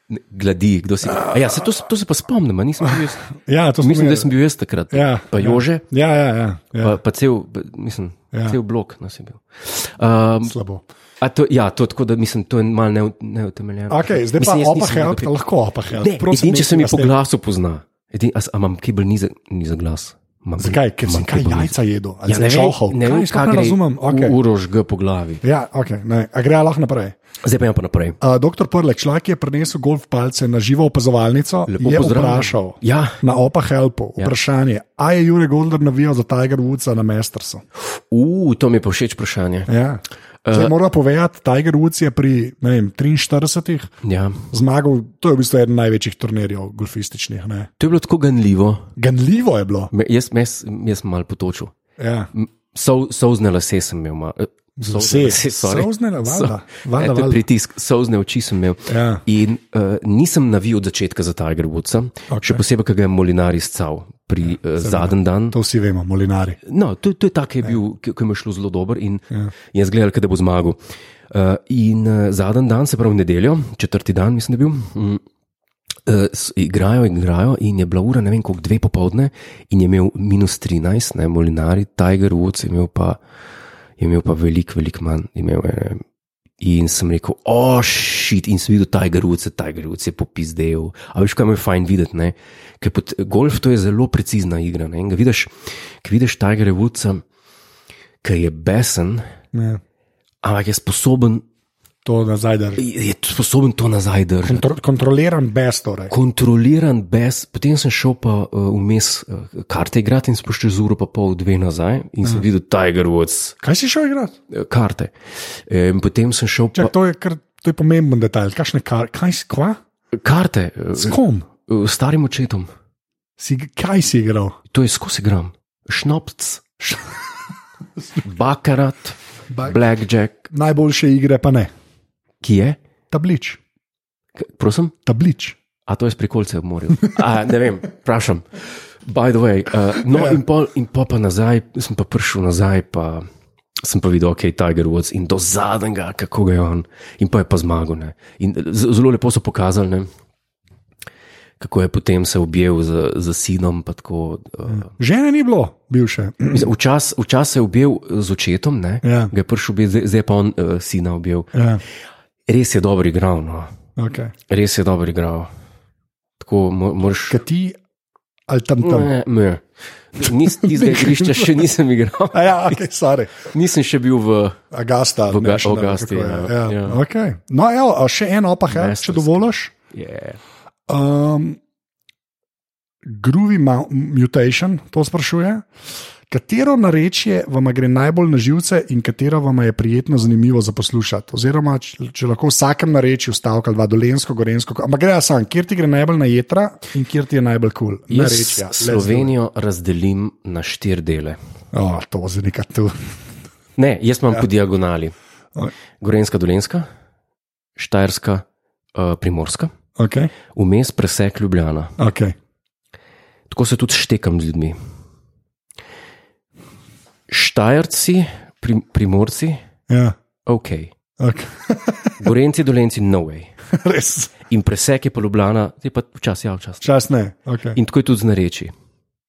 Speaker 1: ne, gladi, kdo si. A ja, se to, to se pa spomnim, a nisem bil jaz.
Speaker 2: Ja, to smo
Speaker 1: Mislim, da
Speaker 2: imeli.
Speaker 1: sem bil jaz takrat.
Speaker 2: Ja,
Speaker 1: pa
Speaker 2: ja.
Speaker 1: Jože,
Speaker 2: Ja, ja, ja, ja.
Speaker 1: pa, pa cel, pa, mislim, ja.
Speaker 2: Ja.
Speaker 1: cel blok nas je bil. Um,
Speaker 2: slabo.
Speaker 1: a to, ja, to tako da mislim, to je malo neu- neutemeljeno.
Speaker 2: Okay, zdaj pa
Speaker 1: Mislim, jaz
Speaker 2: opa
Speaker 1: nisem
Speaker 2: help,
Speaker 1: nekaj-
Speaker 2: lahko opa help.
Speaker 1: Ne,
Speaker 2: Prosim,
Speaker 1: edin, če
Speaker 2: nekaj
Speaker 1: se mi po
Speaker 2: naslednji.
Speaker 1: glasu pozna. Edin, a, s- a imam kibel ni za, ni za glas. Imam-
Speaker 2: Zakaj? Ker si
Speaker 1: imam
Speaker 2: kaj
Speaker 1: kebel ni-
Speaker 2: jajca jedel, ali
Speaker 1: Ja, ne
Speaker 2: si
Speaker 1: vem,
Speaker 2: čohal.
Speaker 1: ne vem, kaj
Speaker 2: ne
Speaker 1: gre
Speaker 2: razumem. Okay.
Speaker 1: Urož G po glavi.
Speaker 2: Ja, okay, ne. A gre lahko naprej.
Speaker 1: Zdaj pa imam pa naprej.
Speaker 2: Uh, Doktor Prlek, človek, ki je prenesel golf palce na živo opazovalnico,
Speaker 1: Lepo
Speaker 2: je
Speaker 1: pozdravljen.
Speaker 2: vprašal
Speaker 1: Ja.
Speaker 2: na opa helpu vprašanje, a je Jurek Golder navijal za Tiger Woodsa na Mestersu.
Speaker 1: Uh, to mi je pa všeč vprašanje.
Speaker 2: Ja.
Speaker 1: Eh,
Speaker 2: Uh, Moram povedati, Tiger Woods je pri ne vem, 43
Speaker 1: Ja.
Speaker 2: zmagal, to je v bistvu eden največjih turnirjev golfističnih. Ne.
Speaker 1: To je bilo tako ganljivo.
Speaker 2: Ganljivo je bilo.
Speaker 1: Me, jaz, jaz, jaz sem malo potočil.
Speaker 2: Ja.
Speaker 1: So, Sovzne lase sem imel. ma- eh, solzne
Speaker 2: Vse.
Speaker 1: lase, sorry.
Speaker 2: Solzne, valjda,
Speaker 1: So-
Speaker 2: valjda,
Speaker 1: Ja, to je
Speaker 2: valjda.
Speaker 1: Pritisk, sovzne oči sem imel.
Speaker 2: Ja.
Speaker 1: In uh, nisem navil od začetka za Tiger Woodsa, okay. še posebej, ker ga je Molinar izcal pri uh, zadnjem dan.
Speaker 2: To vsi vemo, molinari.
Speaker 1: No, to, to je tako, ki je bil, ki, ki mi je šlo zelo dober in ja. jaz gledal, da bo zmagal. Uh, in uh, zadnji dan, se pravi v nedeljo, četrti dan, mislim, da je bil. Mm, Uh, igrajo, igrajo, in je bila ura, ne vem, koliko dve popovdne, in je imel minus 13, ne Molinari, Tiger Woods je imel pa, je imel pa veliko, veliko manj. je Imel, eh, in sem rekel, ošit, in sem videl Tiger Woods, Tiger Woods je popizdel. A veš, kaj me je fajn videti, ne? Ker pod golf to je zelo precizna igra, ne? In ga vidiš, ki vidiš Tiger Woodsa, ki je besen,
Speaker 2: Ne.
Speaker 1: ampak je sposoben,
Speaker 2: To nazaj, da je
Speaker 1: je sposoben to nazaj držati.
Speaker 2: kontro, kontroliran bes. Torej.
Speaker 1: kontroliran bes. Potem sem šel pa uh, vmes uh, karte igrati in spoštil z uro pa pol dve nazaj in sem videl Tiger Woods
Speaker 2: Kaj si šel igrati?
Speaker 1: eh, karte. Eh, In potem sem šel pa
Speaker 2: Čak, to, je kar, to je pomemben detajl. Kakšne kar, kaj si kva?
Speaker 1: karte
Speaker 2: S
Speaker 1: eh,
Speaker 2: kom?
Speaker 1: eh, starim očetom.
Speaker 2: Si, kaj si igral?
Speaker 1: To je skozi gram. Šnopc,
Speaker 2: Š-
Speaker 1: bakarat,
Speaker 2: Bak-
Speaker 1: blackjack,
Speaker 2: Najboljše igre pa ne.
Speaker 1: ki je,
Speaker 2: Tablič.
Speaker 1: K- prosim.
Speaker 2: Tablič.
Speaker 1: A to je sprikolce ob morju. A, ne vem, vprašam. By the way, uh, no, in pol, in pol pa nazaj, sem pa prišel nazaj, pa sem pa videl, ok, Tiger Woods in do zadnjega, kako ga je on, in pa je pa zmagal. Ne. In z- zelo lepo so pokazali, ne, kako je potem se objel z, z sinom. pa Tako, uh,
Speaker 2: Žene ni bilo, bivše.
Speaker 1: včas, včas se je objel z očetom, ne,
Speaker 2: Ja.
Speaker 1: ga je prišel, objel, zdaj, zdaj je pa on uh, sina objel.
Speaker 2: Ja,
Speaker 1: Res je dobro igral, no.
Speaker 2: okay.
Speaker 1: res je dobro igral. Tako mo- moraš.
Speaker 2: Kaj ti ali tam tam?
Speaker 1: Ne, ne. Nis, tiste igrišče še nisem igral,
Speaker 2: A ja, okay, sorry.
Speaker 1: nisem še bil v.
Speaker 2: Agasta.
Speaker 1: Oga-
Speaker 2: National,
Speaker 1: Agasti,
Speaker 2: kako je.
Speaker 1: ja,
Speaker 2: ja.
Speaker 1: ja.
Speaker 2: Okay. No, evo, a še eno pa help, če
Speaker 1: Mesters.
Speaker 2: dovoliš.
Speaker 1: Yeah.
Speaker 2: Um, Groovy Mou- Mutation, to sprašuje. Katero narečje vam gre najbolj na živce in katero vam je prijetno zanimivo za poslušati? Oziroma, če, če lahko vsakem narečju stavka ali dva, dolensko, gorensko, ampak gre sam, kjer ti gre najbolj na jetra in kjer ti je najbolj kul. Cool.
Speaker 1: Jaz
Speaker 2: Narečja, let's do it.
Speaker 1: Slovenijo razdelim na štiri dele.
Speaker 2: O, to zdaj nekaj tu.
Speaker 1: Ne, jaz imam ja. po diagonali.
Speaker 2: Oj.
Speaker 1: Gorenska, dolenska, štajerska, uh, primorska,
Speaker 2: Okay.
Speaker 1: vmes presek Ljubljana.
Speaker 2: Okay.
Speaker 1: Tako se tudi štekam z ljudmi. Štajerci, prim, primorci,
Speaker 2: Ja,
Speaker 1: ok.
Speaker 2: okay.
Speaker 1: Gorenci, dolenci, no way.
Speaker 2: Res,
Speaker 1: In presek je pa Ljubljana, je pa včasih ja, včasih.
Speaker 2: čas ne. Okay.
Speaker 1: In tako je tudi z nareči.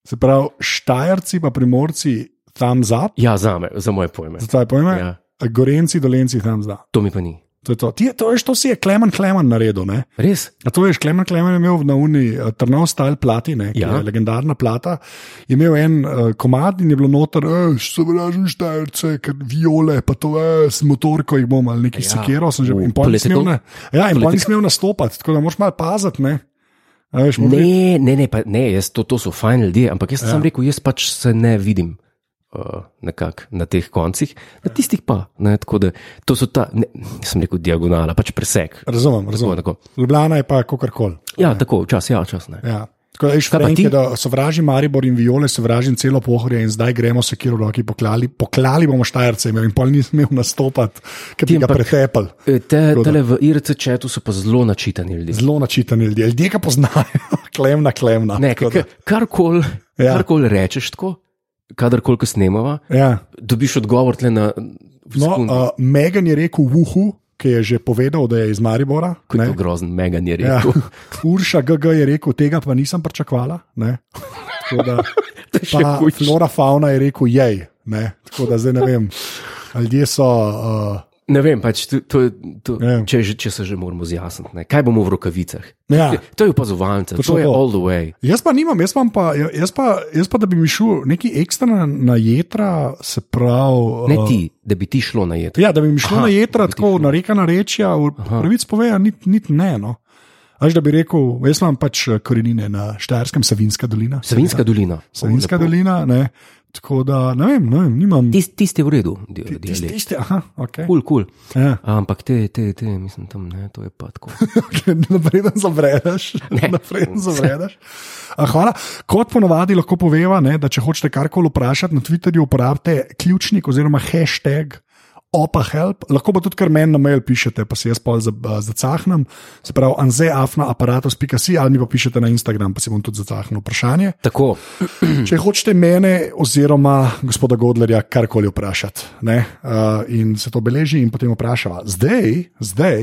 Speaker 2: Se pravi, štajerci pa primorci tam zap,
Speaker 1: Ja, za me, za moje pojme.
Speaker 2: za tvoje pojme, ja.
Speaker 1: Ja.
Speaker 2: gorenci, dolenci tam zap.
Speaker 1: To mi pa ni.
Speaker 2: To je to. Ti, je- to veš, to si je Klemen Klemen naredil. Ne?
Speaker 1: Res?
Speaker 2: A to veš, Klemen Klemen je imel na uni eh, Trnov stal plati, ne, ja.
Speaker 1: Ja.
Speaker 2: je legendarna plata. Je imel en uh, komad in je bilo noter, "Eh, sovražim štajerce, ker viole, pa to eh, s motorko jih bom ali nekaj ja.
Speaker 1: Ja.
Speaker 2: sekero, sem že
Speaker 1: V
Speaker 2: in pol nisem
Speaker 1: political-
Speaker 2: smel, na- ja, in pol
Speaker 1: politik-
Speaker 2: nisem smel nastopati, tako da moraš malo paziti. Ne? A Veš, moraš biti-
Speaker 1: Ne, ne, ne, pa, ne jaz, to, to so fajn ljudje, ampak jaz ja. sem rekel, jaz pač se ne vidim. Uh, nekak, na teh koncih, na tistih pa. Ne, tako da, to so ta, ne, sem rekel, diagonala, pač presek.
Speaker 2: Razumem, razumem.
Speaker 1: Tako, tako.
Speaker 2: Ljubljana je pa kakor koli.
Speaker 1: Ja, tako, včasih, ja, včasih ne.
Speaker 2: Ja. Tako da, veš,
Speaker 1: Kaj pa
Speaker 2: Frank
Speaker 1: ti?
Speaker 2: je, da sovražim Maribor in Viole, sovražim celo pohorje in zdaj gremo se kjer v roki poklali, poklali bomo štajerce imel in pol nisem imel nastopati, ker bi
Speaker 1: Ti,
Speaker 2: ga
Speaker 1: ampak-
Speaker 2: pretepel.
Speaker 1: E, Te,
Speaker 2: Tako da.
Speaker 1: tele v IRC četu so pa zelo načitani ljudje.
Speaker 2: Zelo načitani ljudje, ljudje ga poznajo, klemna, klemna.
Speaker 1: Ne,
Speaker 2: Tako da-
Speaker 1: karkoli
Speaker 2: Ja.
Speaker 1: ja. kar rečeš, tako, kadarkoli ko snemava,
Speaker 2: ja.
Speaker 1: dobiš odgovor tle na no,
Speaker 2: no, uh, Megan je rekel, uhu, ki je že povedal, da je iz Maribora.
Speaker 1: Ko je
Speaker 2: ne.
Speaker 1: to grozen, mega ni
Speaker 2: Ja.
Speaker 1: rekel.
Speaker 2: Urša GG je rekel, tega pa nisem pričakvala. ne. Tako Da,
Speaker 1: To je še
Speaker 2: pa
Speaker 1: hujše.
Speaker 2: Flora Fauna je rekel, jej. Ne? Tako da zdaj ne vem. a Ljudje so. Uh,
Speaker 1: Ne vem, pač to, to, je- to,
Speaker 2: Ja.
Speaker 1: če, že- če se že moramo zjasniti, ne. kaj bomo v rokavicah.
Speaker 2: ja.
Speaker 1: To je opazovalnica,
Speaker 2: Točno
Speaker 1: to je
Speaker 2: to.
Speaker 1: all the way.
Speaker 2: Jaz pa nimam, jaz, imam pa, ja, jaz, pa, jaz pa da bi mi šel neki ekstra na, na jedra, se pravi.
Speaker 1: Ne
Speaker 2: uh,
Speaker 1: ti, da bi ti šlo na jedro.
Speaker 2: Ja, da bi mi šlo
Speaker 1: Aha,
Speaker 2: Aha, na jedra,
Speaker 1: da bi ti
Speaker 2: tako narekana rečja, v- pravic poveja, niti nit ne. No. Až da bi rekel, jaz imam pač korenine na Štajerskem, Savinska dolina.
Speaker 1: Savinska dolina.
Speaker 2: Savinska dolina, ne. Tako da ne vem, ne vem nimam.
Speaker 1: Tisti tist je v redu, dialekt. Kul,
Speaker 2: Tisti,
Speaker 1: tis,
Speaker 2: tisti, aha, ok.
Speaker 1: kul. Cool, cool.
Speaker 2: Ja.
Speaker 1: Ampak te, te, te, mislim, tam ne, to je pa tako.
Speaker 2: Napreden zavredaš. Napreden zavredaš. A, Hvala. Kot ponovadi lahko poveva, ne, da če hočete karkoli vprašati na Twitterju, uporabite ključnik oziroma hashtag. Opa, help, lahko pa tudi kar meni na mail pišete, pa se jaz pol za- a, zacahnem, se pravi, anzeafna aparatus.si ali mi pa pišete na Instagram, pa si bom tudi zacahnil vprašanje.
Speaker 1: Tako,
Speaker 2: Če hočete mene oziroma gospoda Godlerja karkoli vprašati, ne, uh, in se to beleži, in potem vprašava, zdaj, zdaj,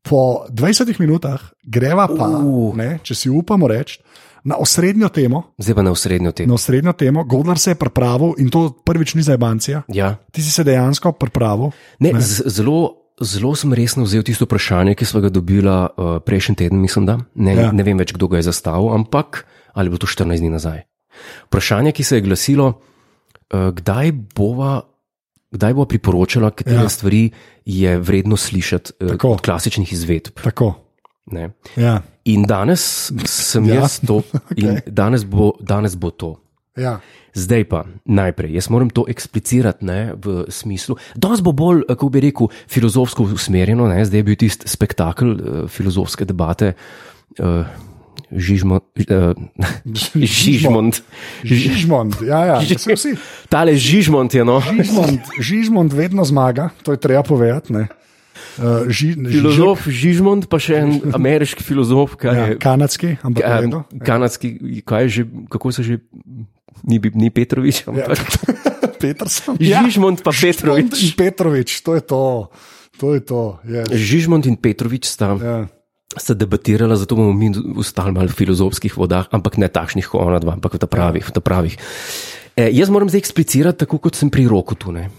Speaker 2: po 20 minutah, greva pa,
Speaker 1: Uh.
Speaker 2: ne, če si upamo reči, na osrednjo temo.
Speaker 1: zdaj pa na osrednjo temo.
Speaker 2: Na osrednjo temo, Godler se je pripravil in to prvič ni za Ebancija.
Speaker 1: Ja.
Speaker 2: Ti si se dejansko pripravil.
Speaker 1: Ne, z- Zelo, zelo sem resno vzel tisto vprašanje, ki smo ga dobili uh, prejšnji teden, mislim, da ne,
Speaker 2: Ja.
Speaker 1: ja. ne vem več, kdo ga je zastavil, ampak ali je bilo to 14 dni nazaj. Vprašanje, ki se je glasilo, uh, kdaj bova. Kdaj bo priporočala, katere
Speaker 2: Ja.
Speaker 1: ja. stvari je vredno slišati eh,
Speaker 2: Tako.
Speaker 1: od klasičnih izvedb?
Speaker 2: Tako.
Speaker 1: Ne.
Speaker 2: Ja.
Speaker 1: In danes sem
Speaker 2: Ja.
Speaker 1: ja. jaz to, in
Speaker 2: Okej.
Speaker 1: okay. danes, bo, danes bo to.
Speaker 2: Ja.
Speaker 1: Zdaj pa najprej, jaz moram to eksplicirati ne, v smislu. Danes bo bolj, kako bi rekel, filozofsko usmerjeno, ne, zdaj je bil tisti spektakel eh, filozofske debate. Uh, Žižmo, uh, Žižmond. Ži-
Speaker 2: Žižmond, ja, ja. Saj vsi.
Speaker 1: Tale Žižmond je no.
Speaker 2: Žižmond, Žižmond vedno zmaga, to je treba povedati. ne. Uh, ži, Žižek-
Speaker 1: Filozof Žižmond, pa še en ameriški filozof, kaj
Speaker 2: Ja,
Speaker 1: je. Ja,
Speaker 2: kanadski, ampak
Speaker 1: ka-
Speaker 2: vedno.
Speaker 1: Kanadski, kaj je že, kako se že, ni, bi- ni Petrovič, ampak
Speaker 2: Peterson.
Speaker 1: Žižmond pa
Speaker 2: Petrovič.
Speaker 1: Petrovič.
Speaker 2: Petrovič, Ja, to je to. to, je to yes.
Speaker 1: Žižmond in Petrovič sta
Speaker 2: ja.
Speaker 1: sta debatirala, zato bomo mi ostali malo v filozofskih vodah, ampak ne takšnih, kot ona dva, ampak v ta pravih. V ta pravih. E, jaz moram zdaj eksplicirati, tako kot sem pri roku tu. Ne?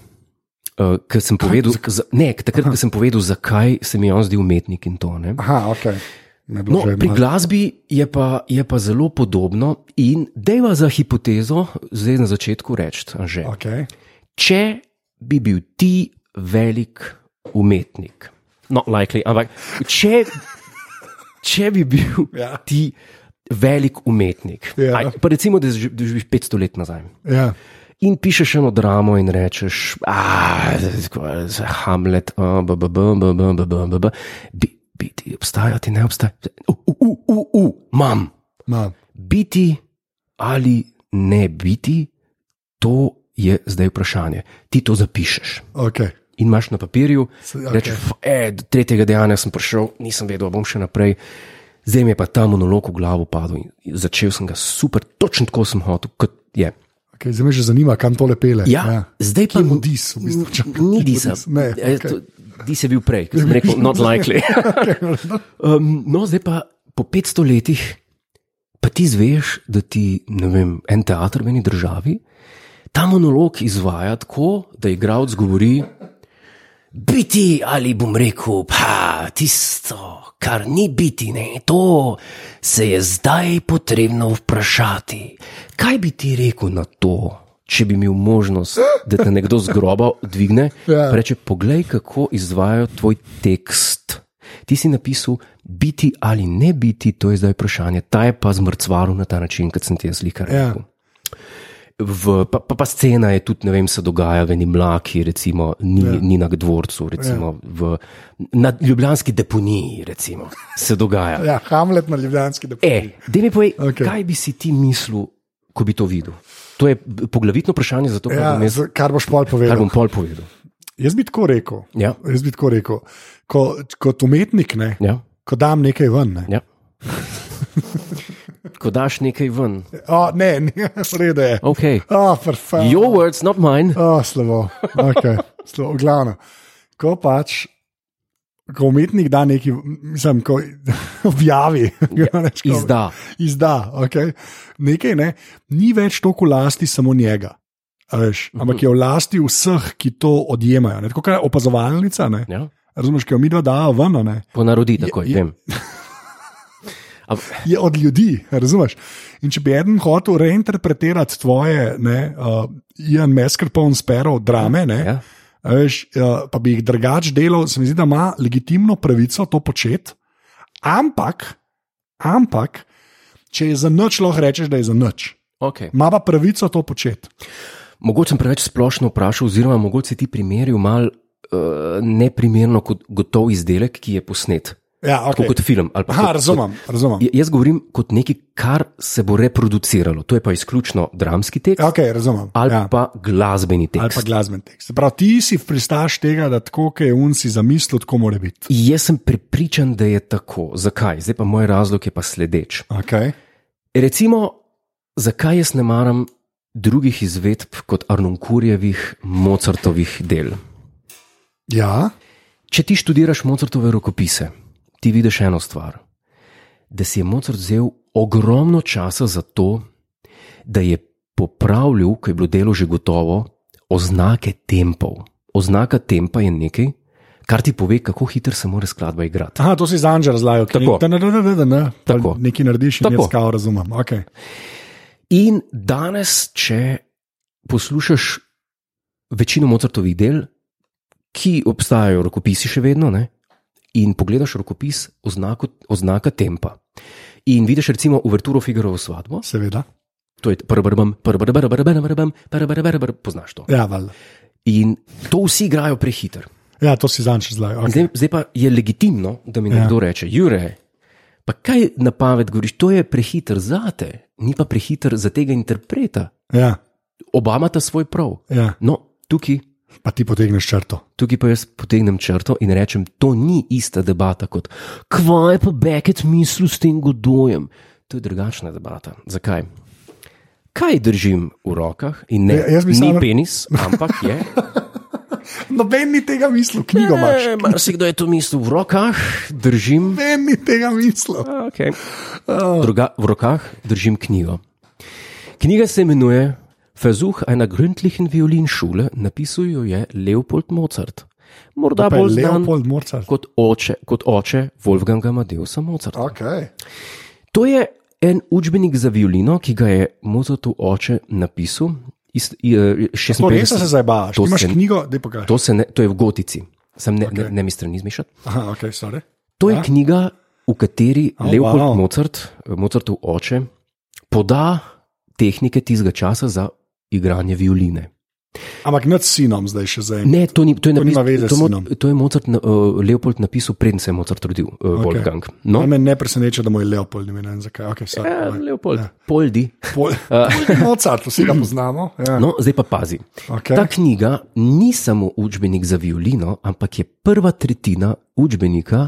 Speaker 1: Uh, ker sem povedal, za, ne, takrat, ko sem povedal, zakaj se mi je on zdi umetnik in to. Ne?
Speaker 2: Aha, ok. Ne
Speaker 1: No,
Speaker 2: bilo že
Speaker 1: pri
Speaker 2: malo.
Speaker 1: glasbi je pa, je pa zelo podobno in dejva za hipotezo, zdaj na začetku reči, že.
Speaker 2: okay.
Speaker 1: Če bi bil ti velik umetnik, no, likely, ampak če, če bi bil
Speaker 2: Ja.
Speaker 1: ja. ti velik umetnik,
Speaker 2: Ja.
Speaker 1: aj, pa recimo, da ži- da živiš 500 let nazaj.
Speaker 2: ja.
Speaker 1: In pišeš eno dramo in rečeš, ah, tako, z Hamlet, a, b, b, b, b, b, b, b, b, b, bi- biti, obstajati, ne obstajati, u, u, u, u, u, imam
Speaker 2: Ma,
Speaker 1: biti ali ne biti, to je zdaj vprašanje. Ti to zapišeš
Speaker 2: okay.
Speaker 1: in imaš na papirju,
Speaker 2: Se-
Speaker 1: okay.
Speaker 2: okej.
Speaker 1: rečeš, "F- e, do tretjega dejanja sem prišel, nisem vedel, a bom še naprej. Zdaj mi je pa ta monolog v glavo padel in začel sem ga super, točno tako sem hotel, kot je.
Speaker 2: Okay, zdaj me že zanima, kam tole pele.
Speaker 1: Ja, ja. zdaj pa
Speaker 2: Kje mu dis, v bistvu, če-
Speaker 1: Ni disa.
Speaker 2: dis? Ne,
Speaker 1: E,
Speaker 2: okej.
Speaker 1: to- Dis je bil prej, ker sem rekel, not likely. um, no, zdaj pa po 500 letih, pa ti zveš, da ti ne vem, en teater v eni državi, ta monolog izvaja tako, da igralec govori. Biti ali bom rekel, pa tisto, kar ni biti, ne, to se je zdaj potrebno vprašati. Kaj bi ti rekel na to, če bi imel možnost, da te nekdo z groba dvigne in
Speaker 2: Ja.
Speaker 1: ja. reče: Poglej, kako izvajo tvoj tekst. Ti si napisal, biti ali ne biti, to je zdaj vprašanje. Ta je pa zmrcvaril na ta način, kot sem ti jaz likar
Speaker 2: Ja.
Speaker 1: rekel. v, pa, pa, pa scena je tudi, ne vem, se dogaja v eni mlaki, recimo, ni,
Speaker 2: Ja.
Speaker 1: yeah. ni na dvorcu, recimo, yeah. v, na ljubljanski deponiji, recimo, se dogaja.
Speaker 2: Ja, Hamlet na Ljubljanski
Speaker 1: E,
Speaker 2: deponiji.
Speaker 1: da mi povej,
Speaker 2: Okej.
Speaker 1: okay. kaj bi si ti mislil, ko bi to videl? To je b- poglavitno vprašanje za to, kar, ja,
Speaker 2: Ja,
Speaker 1: bom, jaz,
Speaker 2: z- kar boš pol
Speaker 1: kar
Speaker 2: povedal.
Speaker 1: bom pol povedal.
Speaker 2: Jaz bi tako rekel.
Speaker 1: Ja,
Speaker 2: Jaz bi tako rekel. Ko, kot umetnik, ne,
Speaker 1: ja,
Speaker 2: ko dam nekaj ven. Ne,
Speaker 1: ja. Ko daš nekaj ven,
Speaker 2: o, ne, ne redo je.
Speaker 1: ok.
Speaker 2: Oh, perfekt.
Speaker 1: Your words, not mine.
Speaker 2: Oh, slabo, okay. slabo. glavno. Ko pač, ko umetnik da nekaj, mislim, ko objavi, ja, reč, ko,
Speaker 1: Izda.
Speaker 2: izda okay. nekaj, ne, ni več toliko lasti samo njega. a Veš,
Speaker 1: Mhm.
Speaker 2: ampak je v lasti vseh, ki to odjemajo. Ne? Tako kot opazovalnica, ne?
Speaker 1: Ja?
Speaker 2: razumeš, ki jo mi dva dava ven, a ne?
Speaker 1: Ponarodi takoj,
Speaker 2: je-
Speaker 1: vem. A,
Speaker 2: je od ljudi, razumeš. In če bi eden hotel reinterpretirati tvoje, ne, uh, Ian Meskerpon sperov drame, ne,
Speaker 1: ja?
Speaker 2: A Veš, eh, pa bi jih drugače delal, se mi zdi, da ima legitimno pravico to početi, ampak, ampak če je za noč, lahko rečeš, da je za noč.
Speaker 1: okay.
Speaker 2: Ima pa pravico to početi.
Speaker 1: Mogoče sem preveč splošno vprašal, oziroma mogoče si ti primeril mal uh, neprimerno kot gotov izdelek, ki je posnet.
Speaker 2: Ja,
Speaker 1: Tako
Speaker 2: okay.
Speaker 1: kot film. ali pa
Speaker 2: Aha,
Speaker 1: kot-
Speaker 2: razumem, razumem.
Speaker 1: Ja, Jaz govorim kot nekaj, kar se bo reproduciralo. To je pa izključno dramski tekst okay.
Speaker 2: Okay, razumem.
Speaker 1: ali ja.
Speaker 2: ja.
Speaker 1: pa glasbeni
Speaker 2: ali
Speaker 1: tekst.
Speaker 2: pa glasben tekst. Se Prav, ti si pristaš tega, da tako, kot je un si zamislil, tako mora biti.
Speaker 1: Jaz sem prepričan, da je tako. Zakaj? Zdaj pa moj razlog je pa sledeč.
Speaker 2: Okay.
Speaker 1: Recimo, zakaj jaz ne maram drugih izvedb kot Arnonkurjevih, Mozartovih del.
Speaker 2: Ja,
Speaker 1: Če ti študiraš Mozartove rokopise, ti vidiš eno stvar. Da si je Mozart vzel ogromno časa za to, da je popravljal, ko je bilo delo že gotovo, oznake tempov. Oznaka tempa je nekaj, kar ti pove, kako hitro se mora skladba igrati.
Speaker 2: Aha, to si z Anžem razlagal,
Speaker 1: Tako.
Speaker 2: da ne, ne, ne, ne,
Speaker 1: Tako.
Speaker 2: nekaj narediš in
Speaker 1: Tako.
Speaker 2: jaz kao razumem. Okay.
Speaker 1: In danes, če poslušaš večino Mozartovih del, ki obstajajo, rokopisi še vedno, ne? in pogledaš rokopis oznako, oznaka tempa. In vidiš, recimo, uverturo Figarovo svatbo,
Speaker 2: Seveda.
Speaker 1: to je prbrbam, prbrbam, prbrbam, prbrbam, poznaš to.
Speaker 2: Ja, valjda.
Speaker 1: In to vsi igrajo prehiter.
Speaker 2: ja, to si z Anžem razlagal.
Speaker 1: In
Speaker 2: Okay.
Speaker 1: Zdaj, zdaj pa je legitimno, da mi
Speaker 2: Ja.
Speaker 1: nekdo reče, Jure, pa kaj na pamet govoriš, to je prehiter zate, ni pa prehiter za tega interpreta.
Speaker 2: Ja,
Speaker 1: Oba imata svoj prav.
Speaker 2: ja.
Speaker 1: No, tukaj,
Speaker 2: Pa ti potegneš črto.
Speaker 1: tukaj pa jaz potegnem črto in rečem, to ni ista debata kot kva je pa Beckett mislil s tem godojem. To je drugačna debata. Zakaj? Kaj držim v rokah in ne,
Speaker 2: Ja, jaz bi
Speaker 1: ni
Speaker 2: samo-
Speaker 1: penis, ampak je.
Speaker 2: Noben ni tega mislil, knjigo imaš.
Speaker 1: E, Marsikdo je to mislil v rokah, držim.
Speaker 2: Noben ni tega mislil.
Speaker 1: Okay.
Speaker 2: Ah.
Speaker 1: Druga, v rokah držim knjigo. Knjiga se imenuje Versuch einer gründlichen Violinschule, napisal jo je Leopold Mozart. Morda
Speaker 2: Pa je
Speaker 1: bolj znan
Speaker 2: Torej, Leopold Mozart. Ah.
Speaker 1: kot oče, kot oče Wolfganga Madeusa Mozarta.
Speaker 2: Okay.
Speaker 1: To je en učbenik za violino, ki ga je Mozartov oče napisal. Iz, je,
Speaker 2: To res se
Speaker 1: 56,
Speaker 2: zabavaš.
Speaker 1: To
Speaker 2: Ti imaš
Speaker 1: se-
Speaker 2: knjigo, da pokažeš.
Speaker 1: to, se ne, to je v gotici, sem ne, okay. ne, ne mi strani zmišljati.
Speaker 2: Aha, okay, sorry.
Speaker 1: To je ja. knjiga, v kateri oh, Leopold
Speaker 2: wow.
Speaker 1: wow. Mozart, Mozartov oče, poda tehnike tistega časa za igranje violine.
Speaker 2: Ampak nad sinom zdaj še zdaj.
Speaker 1: Ne, to, ni, to, je
Speaker 2: To nima
Speaker 1: napis,
Speaker 2: veze s
Speaker 1: to, mo,
Speaker 2: sinom.
Speaker 1: to je Mozart, na- uh, Leopold napisal, preden se je Mozart rodil, uh, okay. Wolfgang.
Speaker 2: No?
Speaker 1: No,
Speaker 2: Mene ne preseneča, da mu je Leopold ime, ne vem zakaj. Okay, sorry,
Speaker 1: ja,
Speaker 2: povej.
Speaker 1: Leopold, ja. Poldi.
Speaker 2: Pol- Mozart, vsi ga poznamo. Ja.
Speaker 1: No, zdaj pa pazi.
Speaker 2: Okay.
Speaker 1: Ta knjiga ni samo učbenik za violino, ampak je prva tretjina učbenika,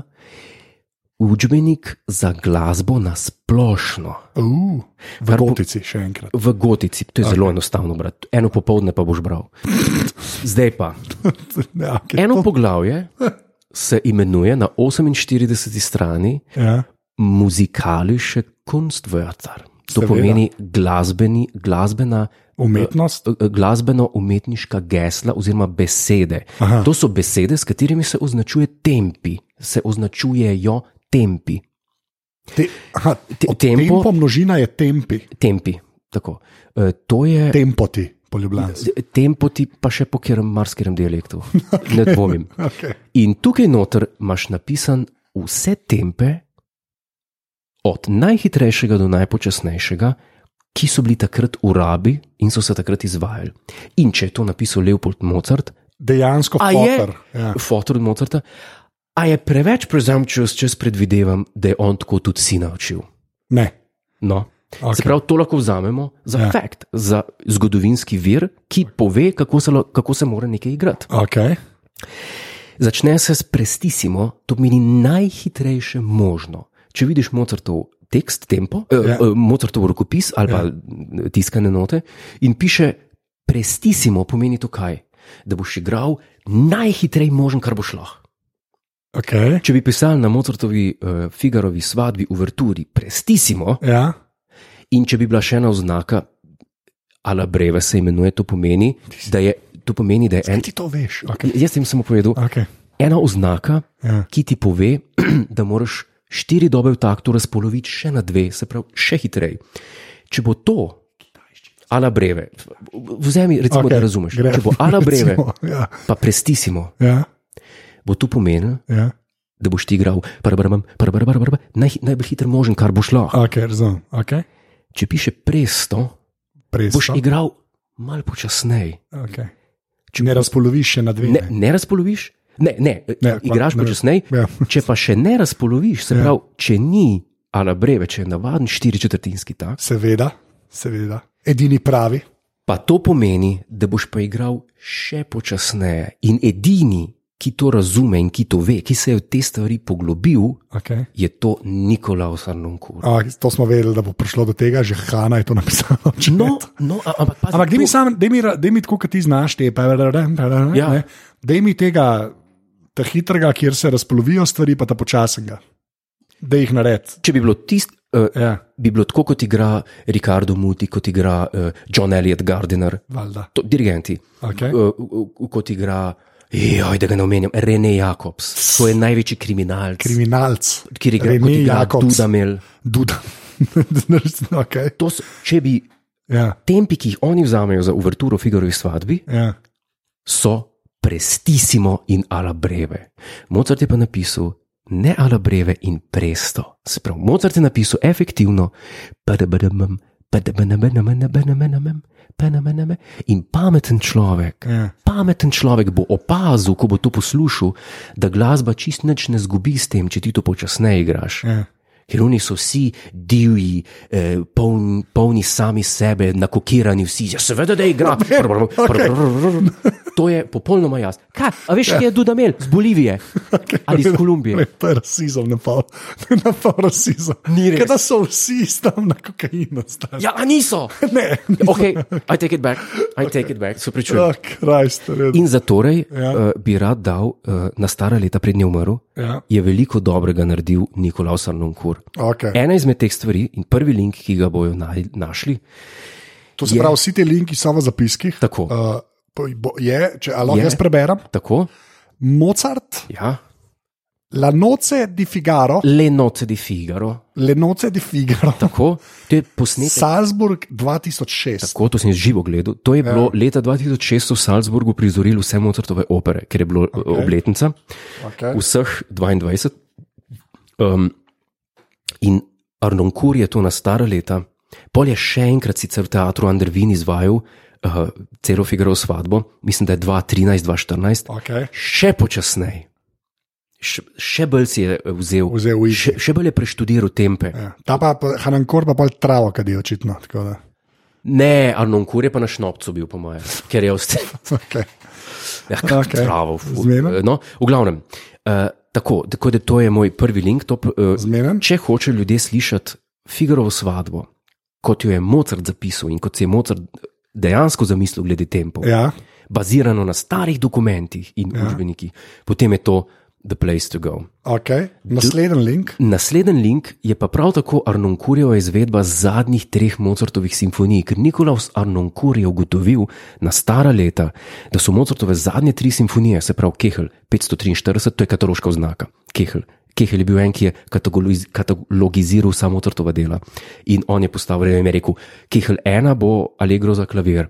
Speaker 1: učbenik za glasbo na splošno.
Speaker 2: Uh, v
Speaker 1: Kar bo-
Speaker 2: Gotici, še enkrat.
Speaker 1: V gotici, to je okay. zelo enostavno, brat. Eno popoldne pa boš bral. Zdaj pa.
Speaker 2: Ja, okay.
Speaker 1: Eno poglavje se imenuje na 48 strani
Speaker 2: ja.
Speaker 1: muzikalische Kunstwörter. To
Speaker 2: Seveda.
Speaker 1: pomeni glasbeni, glasbena, eh,
Speaker 2: Umetnost.
Speaker 1: glasbeno-umetniška gesla oziroma besede.
Speaker 2: Aha.
Speaker 1: Aha. To so besede, s katerimi se označuje tempi, se označujejo tempi.
Speaker 2: Te, aha,
Speaker 1: Te-
Speaker 2: od
Speaker 1: tempo-
Speaker 2: tempo množina je tempi,
Speaker 1: Tempi. Tako. E, To je
Speaker 2: tempoti, po ljubljanski.
Speaker 1: Tempoti pa še po kjerem marsikem dialektu, okay. ne dvomim.
Speaker 2: Okay.
Speaker 1: In tukaj noter imaš napisan vse tempe, od najhitrejšega do najpočasnejšega, ki so bili takrat v rabi in so se takrat izvajali. In če je to napisal Leopold Mozart,
Speaker 2: Dejansko
Speaker 1: a je
Speaker 2: fotor. Ja.
Speaker 1: fotor od Mozarta, a je preveč presumptuous, če jaz predvidevam, da je on tako tudi si naučil.
Speaker 2: Ne.
Speaker 1: No. Okay. Se
Speaker 2: Okay.
Speaker 1: pravi, to lahko vzamemo za
Speaker 2: Ja.
Speaker 1: ja. fakt, za zgodovinski vir, ki pove, kako se, lo- kako se mora nekaj igrati.
Speaker 2: Okay.
Speaker 1: Začne se s prestisimo, to pomeni najhitrejše možno. Če vidiš Mozartov tekst, tempo, eh,
Speaker 2: Ja.
Speaker 1: eh, Mozartov rokopis ali pa eh, tiskane note in piše prestisimo, pomeni to kaj? Da boš igral najhitrej možen, kar boš lahko.
Speaker 2: Okay.
Speaker 1: Če bi pisal na Mozartovi, eh, Figarovi svadbi, uverturi, prestisimo,
Speaker 2: Ja.
Speaker 1: In če bi bila še ena oznaka, ala breve se imenuje, to pomeni, da je, to pomeni, da je
Speaker 2: En
Speaker 1: en,
Speaker 2: ti to veš. Okay.
Speaker 1: jaz sem samo povedal,
Speaker 2: Okay.
Speaker 1: ena oznaka,
Speaker 2: Ja.
Speaker 1: ki ti pove, da moraš štiri dobe v taktu razpoloviti še na dve, se pravi, še hitreje. Če bo to, ala breve, vzemi, recimo, okay,
Speaker 2: Okay,
Speaker 1: da razumeš,
Speaker 2: grem,
Speaker 1: grem, če bo ala breve,
Speaker 2: recimo, Ja,
Speaker 1: pa prestisimo,
Speaker 2: ja,
Speaker 1: bo to pomenilo,
Speaker 2: ja.
Speaker 1: da boš ti igral, parabram, parabram, parabram, naj, najbolj hiter možen, kar boš lahko.
Speaker 2: Okay, razumem. Okay.
Speaker 1: Če piše presto,
Speaker 2: Presto.
Speaker 1: boš igral malo počasneje.
Speaker 2: Okay. Če ne razpoloviš še na dve.
Speaker 1: ne, ne razpoloviš, ne, ne,
Speaker 2: Ne,
Speaker 1: ne igraš
Speaker 2: ne.
Speaker 1: počasneje.
Speaker 2: Ja.
Speaker 1: Če pa še ne razpoloviš, se
Speaker 2: Ja.
Speaker 1: pravi, če ni ala breve, če je navaden štiri četrtinski tak,
Speaker 2: Seveda, seveda. Edini pravi.
Speaker 1: pa to pomeni, da boš pa igral še počasneje. In edini, ki to razume in ki to ve, ki se je v te stvari poglobil,
Speaker 2: Okay.
Speaker 1: je to Nikolaus Arnonkur.
Speaker 2: A, to smo vedeli, da bo prišlo do tega, že Hanna je to napisala. v chat.
Speaker 1: No, no, a- ampak pazi,
Speaker 2: Ampak da mi
Speaker 1: to-
Speaker 2: sam, da mi, da mi tako, kot ti znaš, te pa
Speaker 1: Ja.
Speaker 2: ne, da mi tega ta hitrega, kjer se razpolovijo stvari, pa ta počasnega, da jih naredi.
Speaker 1: če bi bilo tisto. Uh,
Speaker 2: Ja,
Speaker 1: Bi bilo tako, kot igra Ricardo Muti, kot igra uh, John Elliot Gardiner,
Speaker 2: valjda.
Speaker 1: to, dirigenti.
Speaker 2: Okay.
Speaker 1: uh, uh, kot igra, joj, da ga ne omenjam, Rene Jakobs. To je največji kriminalc, Krimi
Speaker 2: Kriminalc,
Speaker 1: ki ga
Speaker 2: Rene
Speaker 1: igra
Speaker 2: Jacobs.
Speaker 1: Dudamel.
Speaker 2: duda. okay.
Speaker 1: To so, če bi
Speaker 2: ja,
Speaker 1: tempi, ki jih oni vzamejo za uverturo Figarovih svadbi,
Speaker 2: ja.
Speaker 1: so prestisimo in ala breve. Mozart je pa napisal ne ala breve in presto. Se pravi, Mozart je napisal efektivno, padabadamem, padabadabadabadabadabadabadabadabadabadabadabadabadabadabadabadabadabadabadabadabadabadabadabadabadabadabadabadabadabadabadabadabadabadabadabadabadab In pameten človek,
Speaker 2: Ja.
Speaker 1: pameten človek bo opazil, ko bo to poslušal, da glasba čist nič ne zgubi s tem, če ti to počasneje igraš.
Speaker 2: Ja.
Speaker 1: Ker oni so vsi divji, eh, poln, polni sami sebe, nakokirani vsi. Ja, seveda, da igra. To je popolnoma jasno. Kaj, a veš, kje je Dudamel? Z Bolivije ali iz
Speaker 2: Ne,
Speaker 1: Kolumbije.
Speaker 2: to je rasizem, ne pa, ne pa rasizem.
Speaker 1: Ni res.
Speaker 2: Kaj Da so vsi tam na kokainu. stari.
Speaker 1: Ja, a niso.
Speaker 2: Ne,
Speaker 1: Okay, I take it back, I take it back, se pričujem.
Speaker 2: oh, krajst, res.
Speaker 1: In zatorej
Speaker 2: Ja.
Speaker 1: ja. uh, bi rad dal uh, na stara leta, prednje umrl,
Speaker 2: Ja.
Speaker 1: je veliko dobrega naredil Nikolaus Arnonkur.
Speaker 2: Okay.
Speaker 1: Ena izmed teh stvari in prvi link, ki ga bojo naj- našli,
Speaker 2: To se pravi, vsi ti linki so v zapiskih.
Speaker 1: Tako.
Speaker 2: Uh, po- bo- je, če ali lahko
Speaker 1: Je.
Speaker 2: jaz preberem,
Speaker 1: tako,
Speaker 2: Mozart,
Speaker 1: ja,
Speaker 2: La noce di Figaro,
Speaker 1: le noce di Figaro,
Speaker 2: Le noce di Figaro,
Speaker 1: tako, to je posnetek.
Speaker 2: Salzburg 2006.
Speaker 1: Tako, to sem jaz živo gledal. To je
Speaker 2: Ja.
Speaker 1: bilo leta 2006 v Salzburgu prizorilo vse Mozartove opere, ker je bilo okay. obletnica.
Speaker 2: Okay.
Speaker 1: vseh 22. Um, in Arnonkur je to na stara leta, pol je še enkrat sicer v teatru Andrvin izvajal uh, celo Figaro svadbo, mislim, da je 2013, 2014,
Speaker 2: Okay.
Speaker 1: še počasneje. Še, še bolj si je eh, vzel,
Speaker 2: Vzel v
Speaker 1: še, še bolj je preštudiral tempe.
Speaker 2: Ja. Ta pa Hanankor pa pol travo, kadi očitno. tako da.
Speaker 1: Ne, Arnonkur je pa na šnopcu bil, po mojem, ker je vse.
Speaker 2: Okay.
Speaker 1: Ja,
Speaker 2: Okej.
Speaker 1: okay. Pravo, ful.
Speaker 2: Zmena?
Speaker 1: No, v glavnem. Uh, tako, tako da to je moj prvi link. To, uh,
Speaker 2: Zmena?
Speaker 1: če hoče ljudje slišati Figarovo svatbo, kot jo je Mozart zapisal in kot se je Mozart eh, dejansko zamislil glede tempov, ja.
Speaker 2: Ja.
Speaker 1: bazirano na starih dokumentih in ja. učbenikih, potem je to the place to go.
Speaker 2: Okay. Naslednji link.
Speaker 1: Naslednji link je pa prav tako Arnonkurjeva izvedba zadnjih treh Mozartovih simfonij, ker Nikolaus Arnonkur je ugotovil na stara leta, da so Mozartove zadnje tri simfonije, se pravi Kehl 543, to je kataloška oznaka. Kehl. Kehl je bil en, ki je kategoriz- katalogiziral vsa Mozartova dela in on je postavil, ne vem, je rekel, Kehl ena bo Allegro za klavir,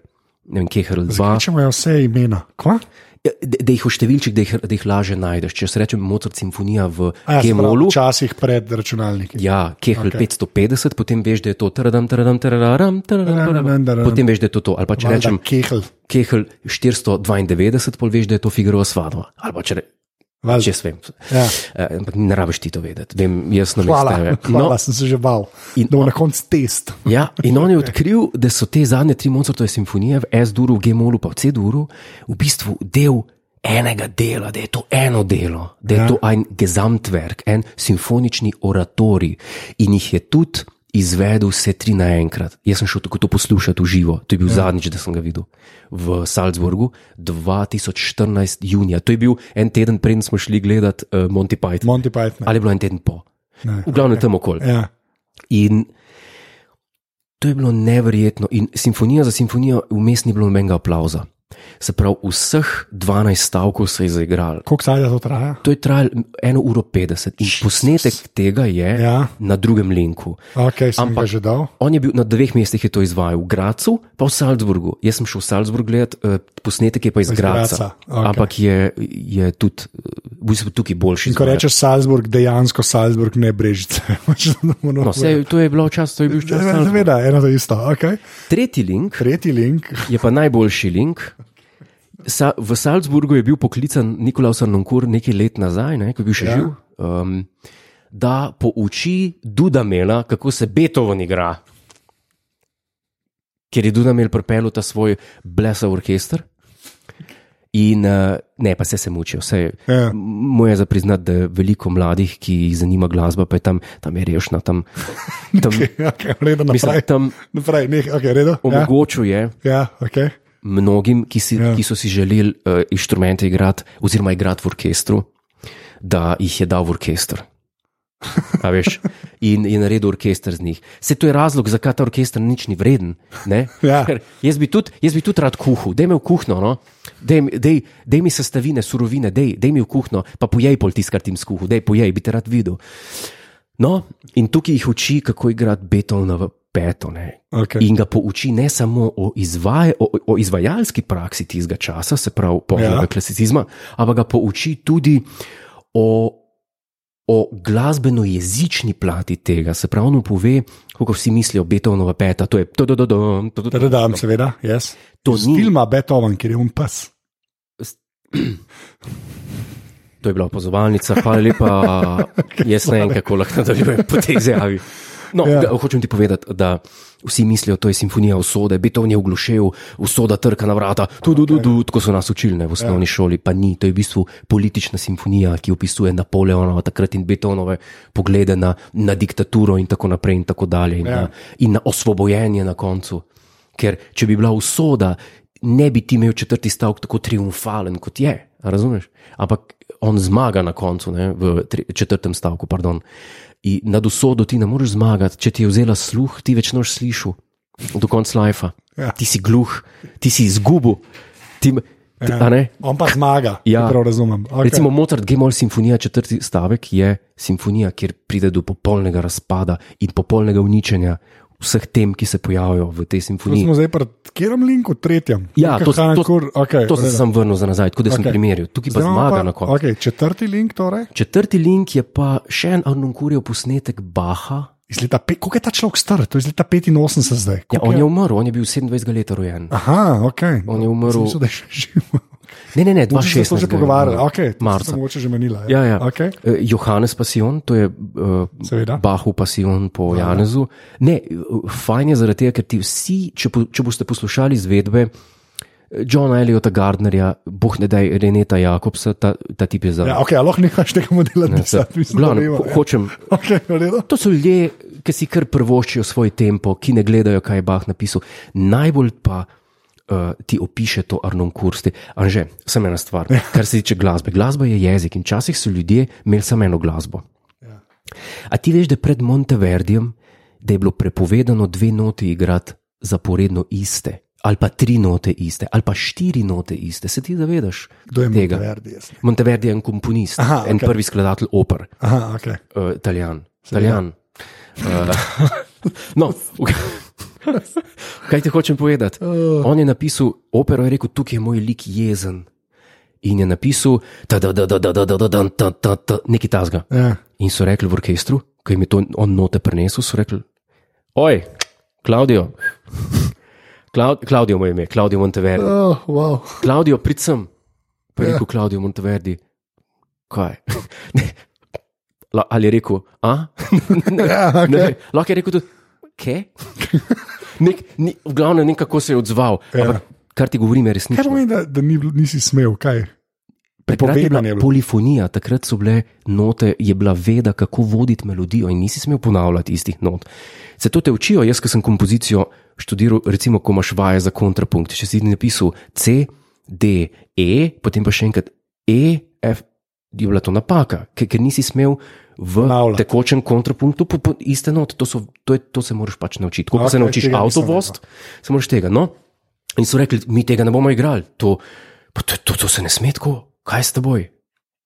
Speaker 1: ne vem, Kehrl 2.
Speaker 2: Zakaj, če imajo vse imena? Kva?
Speaker 1: Ja, Da, da jih oštevilčik, da jih, da jih lažje najdeš. Če se reče Mozart simfonija v
Speaker 2: A Ja, se pravi,
Speaker 1: Kemolu,
Speaker 2: včasih pred računalniki.
Speaker 1: ja, Kehl
Speaker 2: Okej.
Speaker 1: okay. 550, potem veš, da je to tradam, tradam, tradam,
Speaker 2: Tradam,
Speaker 1: tradam,
Speaker 2: tradam.
Speaker 1: tradam, potem veš, da je to to. Ali pa če
Speaker 2: Valjda
Speaker 1: rečem
Speaker 2: kehl.
Speaker 1: Kehl 492, pol veš, da je to Figaro svadba. Ali pa če rečem.
Speaker 2: Valjda.
Speaker 1: Če jaz vem,
Speaker 2: Ja.
Speaker 1: Eh, ampak ne rabiš ti to vedeti, vem, jaz na
Speaker 2: Hvala,
Speaker 1: mestu.
Speaker 2: hvala no. sem se že bal.
Speaker 1: In-
Speaker 2: Da bo na koncu test.
Speaker 1: Ja, in on je odkril, da so te zadnje tri Mozartove simfonije v S-duru, G-molu pa v C-duru v bistvu del enega dela, da je to eno delo, da je ja.
Speaker 2: Ja.
Speaker 1: to en gesamtwerk, en simfonični oratorij in jih je tudi izvedel vse tri naenkrat. Jaz sem šel tako to poslušati v živo, to je bil ja. zadnjič, da sem ga videl v Salzburgu 2014. junija. To je bil en teden, preden smo šli gledati uh, Monty Python,
Speaker 2: Monty Python.
Speaker 1: ali je bilo en teden po.
Speaker 2: Ne.
Speaker 1: V glavnem tam okoli.
Speaker 2: Ja.
Speaker 1: In to je bilo neverjetno. In simfonija za simfonijo, vmes ni bilo nobenega aplauza. Se pravi, vseh 12 stavkov se je zaigral.
Speaker 2: Koliko časa to traja?
Speaker 1: To je trajalo eno uro 50 in posnetek tega je
Speaker 2: Ja.
Speaker 1: na drugem linku.
Speaker 2: Okay, sem Ampak, ga že dal.
Speaker 1: On je bil na dveh mestih, je to izvajal, v Gracu, pa v Salzburgu. Jaz sem šel v Salzburg gledati, eh, posnetek je pa iz,
Speaker 2: Iz
Speaker 1: iz
Speaker 2: Graza,
Speaker 1: Graca.
Speaker 2: okej.
Speaker 1: Ampak je, je tudi, eh, v bistvu tukaj boljši.
Speaker 2: In ko
Speaker 1: izvajalec.
Speaker 2: rečeš Salzburg, dejansko Salzburg ne brežice.
Speaker 1: no, sej, to je bilo včasih, to je bil včasih.
Speaker 2: Seveda, eno to isto. Okay.
Speaker 1: Tretji link
Speaker 2: Tretji link,
Speaker 1: je pa najboljši link. Sa, v Salzburgu je bil poklican Nikolaus Arnonkur nekaj let nazaj, ne, ko je bil še
Speaker 2: Ja.
Speaker 1: ja. živ, um, da pouči Dudamela, kako se Beethoven igra. Ker je Dudamel pripeljal ta svoj blesav orkester. In uh, ne, pa se sem učil. Vse,
Speaker 2: Ja.
Speaker 1: ja. Moje je za priznati, da je veliko mladih, ki jih zanima glasba, pa je tam, tam je rešna, tam, tam,
Speaker 2: okay, redo
Speaker 1: mislim,
Speaker 2: naprej.
Speaker 1: tam
Speaker 2: Naprej, neh, okay, redo. Ja,
Speaker 1: omogočil je.
Speaker 2: ja, okay.
Speaker 1: mnogim, ki, si,
Speaker 2: Ja.
Speaker 1: ja. ki so si želeli uh, inštrumente igrati, oziroma igrati v orkestru, da jih je dal v orkester. A Veš, in je naredil orkester z njih. Se to je razlog, zakaj ta orkester nič ni vreden. ne?
Speaker 2: Ja.
Speaker 1: Ker Jaz bi tudi, jaz bi tudi rad kuhal, da me v kuhno, no? dej, mi- dej, dej mi sestavine, surovine, dej, dej mi v kuhno, pa pojej pol tisto, kar ti skuhal, dej pojej, bi te rad videl. No, in tukaj jih uči, kako igrati Beethovenovo peto. Ne?
Speaker 2: Okay.
Speaker 1: In ga pouči ne samo o, izvaj, o, o izvajalski praksi tistega časa, se pravi, poznega
Speaker 2: Ja.
Speaker 1: ja. klasicizma, ampak ga pouči tudi o, o glasbeno-jezični plati tega. Se pravi, on pove, kako vsi mislijo, Beethovenova peta, to je to, to, to, to, to, to,
Speaker 2: Da dam, seveda, jaz.
Speaker 1: to,
Speaker 2: Yes.
Speaker 1: ni,
Speaker 2: Filma Beethoven, kjer je um pes.
Speaker 1: no, to je bila opazovalnica, hvala lepa. Jaz ne vem, kako lahko nadaljujem po tej izjavi. No,
Speaker 2: Ja.
Speaker 1: ja. Hočem ti povedati, da vsi mislijo, to je simfonija usode, Beethoven je oglušil, usoda trka na vrata, tu, tu, tu, tu, tako so nas učili ne, v osnovni ja. šoli, pa ni. To je v bistvu politična simfonija, ki opisuje Napoleonova takrat in Beethovenove poglede na, na diktaturo in tako naprej in tako dalje in,
Speaker 2: Ja.
Speaker 1: ja. na, in na osvobojenje na koncu. Ker če bi bila usoda, ne bi ti imel četrti stavek tako triumfalen, kot je. a Razumeš? Ampak on zmaga na koncu, ne, v tri, četrtem stavku. Pardon. In nad usodo ti ne moreš zmagati, če ti je vzela sluh, ti več noš slišal do konca life.
Speaker 2: Ja.
Speaker 1: Ja. Ti si gluh, ti si izgubil. Ti, ti,
Speaker 2: Ja.
Speaker 1: ja. ne,
Speaker 2: On pa zmaga,
Speaker 1: Ja.
Speaker 2: ja. prav razumem.
Speaker 1: Okay.
Speaker 2: Okay.
Speaker 1: Recimo Mozart, Gemol simfonija, četrti stavek je simfonija, kjer pride do popolnega razpada in popolnega uničenja vseh tem, ki se pojavljajo v tej
Speaker 2: To
Speaker 1: simfoniji.
Speaker 2: smo zdaj pri katerem linku, tretjem.
Speaker 1: Ja, to, to,
Speaker 2: kur, okay,
Speaker 1: to sem se sam vrnil za nazaj, tako da sem
Speaker 2: Okej.
Speaker 1: okay. primerjal. Tukaj pa zmaga na koncu.
Speaker 2: Okay, četrti link, torej.
Speaker 1: Četrti link je pa še en Arnonkurjev posnetek Ja, Baha.
Speaker 2: Iz leta pet, koliko je ta človek star? To je iz leta 85 zdaj.
Speaker 1: Ja,
Speaker 2: Koliko
Speaker 1: on je umrl, on je bil 27 let rojen.
Speaker 2: Aha, ok.
Speaker 1: On je umrl.
Speaker 2: Mislim, da je še živ.
Speaker 1: Ne, ne, ne,
Speaker 2: Mogoče se smo
Speaker 1: 2016.
Speaker 2: že pogovarjali, okay,
Speaker 1: Marca.
Speaker 2: Marca. Mogoče že menila.
Speaker 1: Ja, ja.
Speaker 2: Okay.
Speaker 1: Eh, Johannes Pasion, to je uh,
Speaker 2: Seveda.
Speaker 1: Bahu Pasion po ja, Janezu. Ne, eh, fajn je zaradi tega, ker ti vsi, če, po, če boste poslušali izvedbe eh, Johna Eliota Gardnerja, boh ne daj Reneta Jakobsa, ta, ta tip je za.
Speaker 2: Ja, okay, a lahko nehaš tega modela
Speaker 1: Ne, se-
Speaker 2: pisati.
Speaker 1: v glavnem, ho,
Speaker 2: ja.
Speaker 1: hočem.
Speaker 2: Okay, v redu.
Speaker 1: To so ljudje, ki si kar prvoščijo svoj tempo, ki ne gledajo, kaj je Bah napisal. Najbolj pa uh, ti opiše to Arnon Kursti. Anže, samo ena stvar,
Speaker 2: Ja.
Speaker 1: kar se tiče glasbe. Glasba je jezik in včasih so ljudje imeli samo eno glasbo.
Speaker 2: Ja.
Speaker 1: A ti veš, da pred Monteverdijem da je bilo prepovedano dve noti igrati zaporedno iste, ali pa tri note iste, ali pa štiri note iste. Se ti zavedaš
Speaker 2: Kdo je
Speaker 1: tega?
Speaker 2: Monteverdi? jaz ne.
Speaker 1: Monteverdi je en komponist,
Speaker 2: Aha,
Speaker 1: Aha, en
Speaker 2: okej.
Speaker 1: okay. prvi skladatelj oper.
Speaker 2: Aha, ok.
Speaker 1: Eh, Uh, italijan. italijan. Uh, Eh, no, v- Kaj ti hočem povedati? On je napisal opero in rekel: Tukaj je moj lik jezen. In je napisal, da je da, da, da, da, da, da, da, da, da, da, nekaj tasga.
Speaker 2: Ja.
Speaker 1: In so rekli v orkestru, ki jim je to on note prenesel, so rekli: Oj, Klaudijo, Klaud, Klaudijo mu je ime, Klaudijo Monteverdi.
Speaker 2: Oh, wow.
Speaker 1: Klaudijo, pridem, pa je rekel Klaudijo Monteverdi. Kaj? Ne. La- Ali je rekel, a? Ne,
Speaker 2: Ja,
Speaker 1: ne,
Speaker 2: okay.
Speaker 1: Lahko je rekel tudi, kaj? Nek, ni, v glavnem, ne vem, kako se je odzval.
Speaker 2: Ja.
Speaker 1: Ja. Kar ti govorim, je
Speaker 2: Kaj
Speaker 1: resnično.
Speaker 2: pomeni, da, da ni, bil- nisi smel? Kaj?
Speaker 1: Takrat je
Speaker 2: Prepovedano je
Speaker 1: bila
Speaker 2: bilo.
Speaker 1: polifonija, takrat so bile note, je bila veda, kako voditi melodijo, in nisi smel ponavljati istih not. Se to te učijo, jaz, ki sem kompozicijo študiral, recimo, ko imaš vaje za kontrapunkt. Če si napisal C, D, E, potem pa še enkrat E, F, je bila to napaka, ker, ker nisi smel v
Speaker 2: Ponavljati.
Speaker 1: tekočem kontrapunktu po, po iste note. To, so, to, je, to se moraš pač naučiti. Ko
Speaker 2: Ok,
Speaker 1: okay, se naučiš
Speaker 2: tega nisem
Speaker 1: avtovost, se moraš tega. No? In so rekli, mi tega ne bomo igrali, to, pa to, to, to se ne sme tako, kaj s teboj.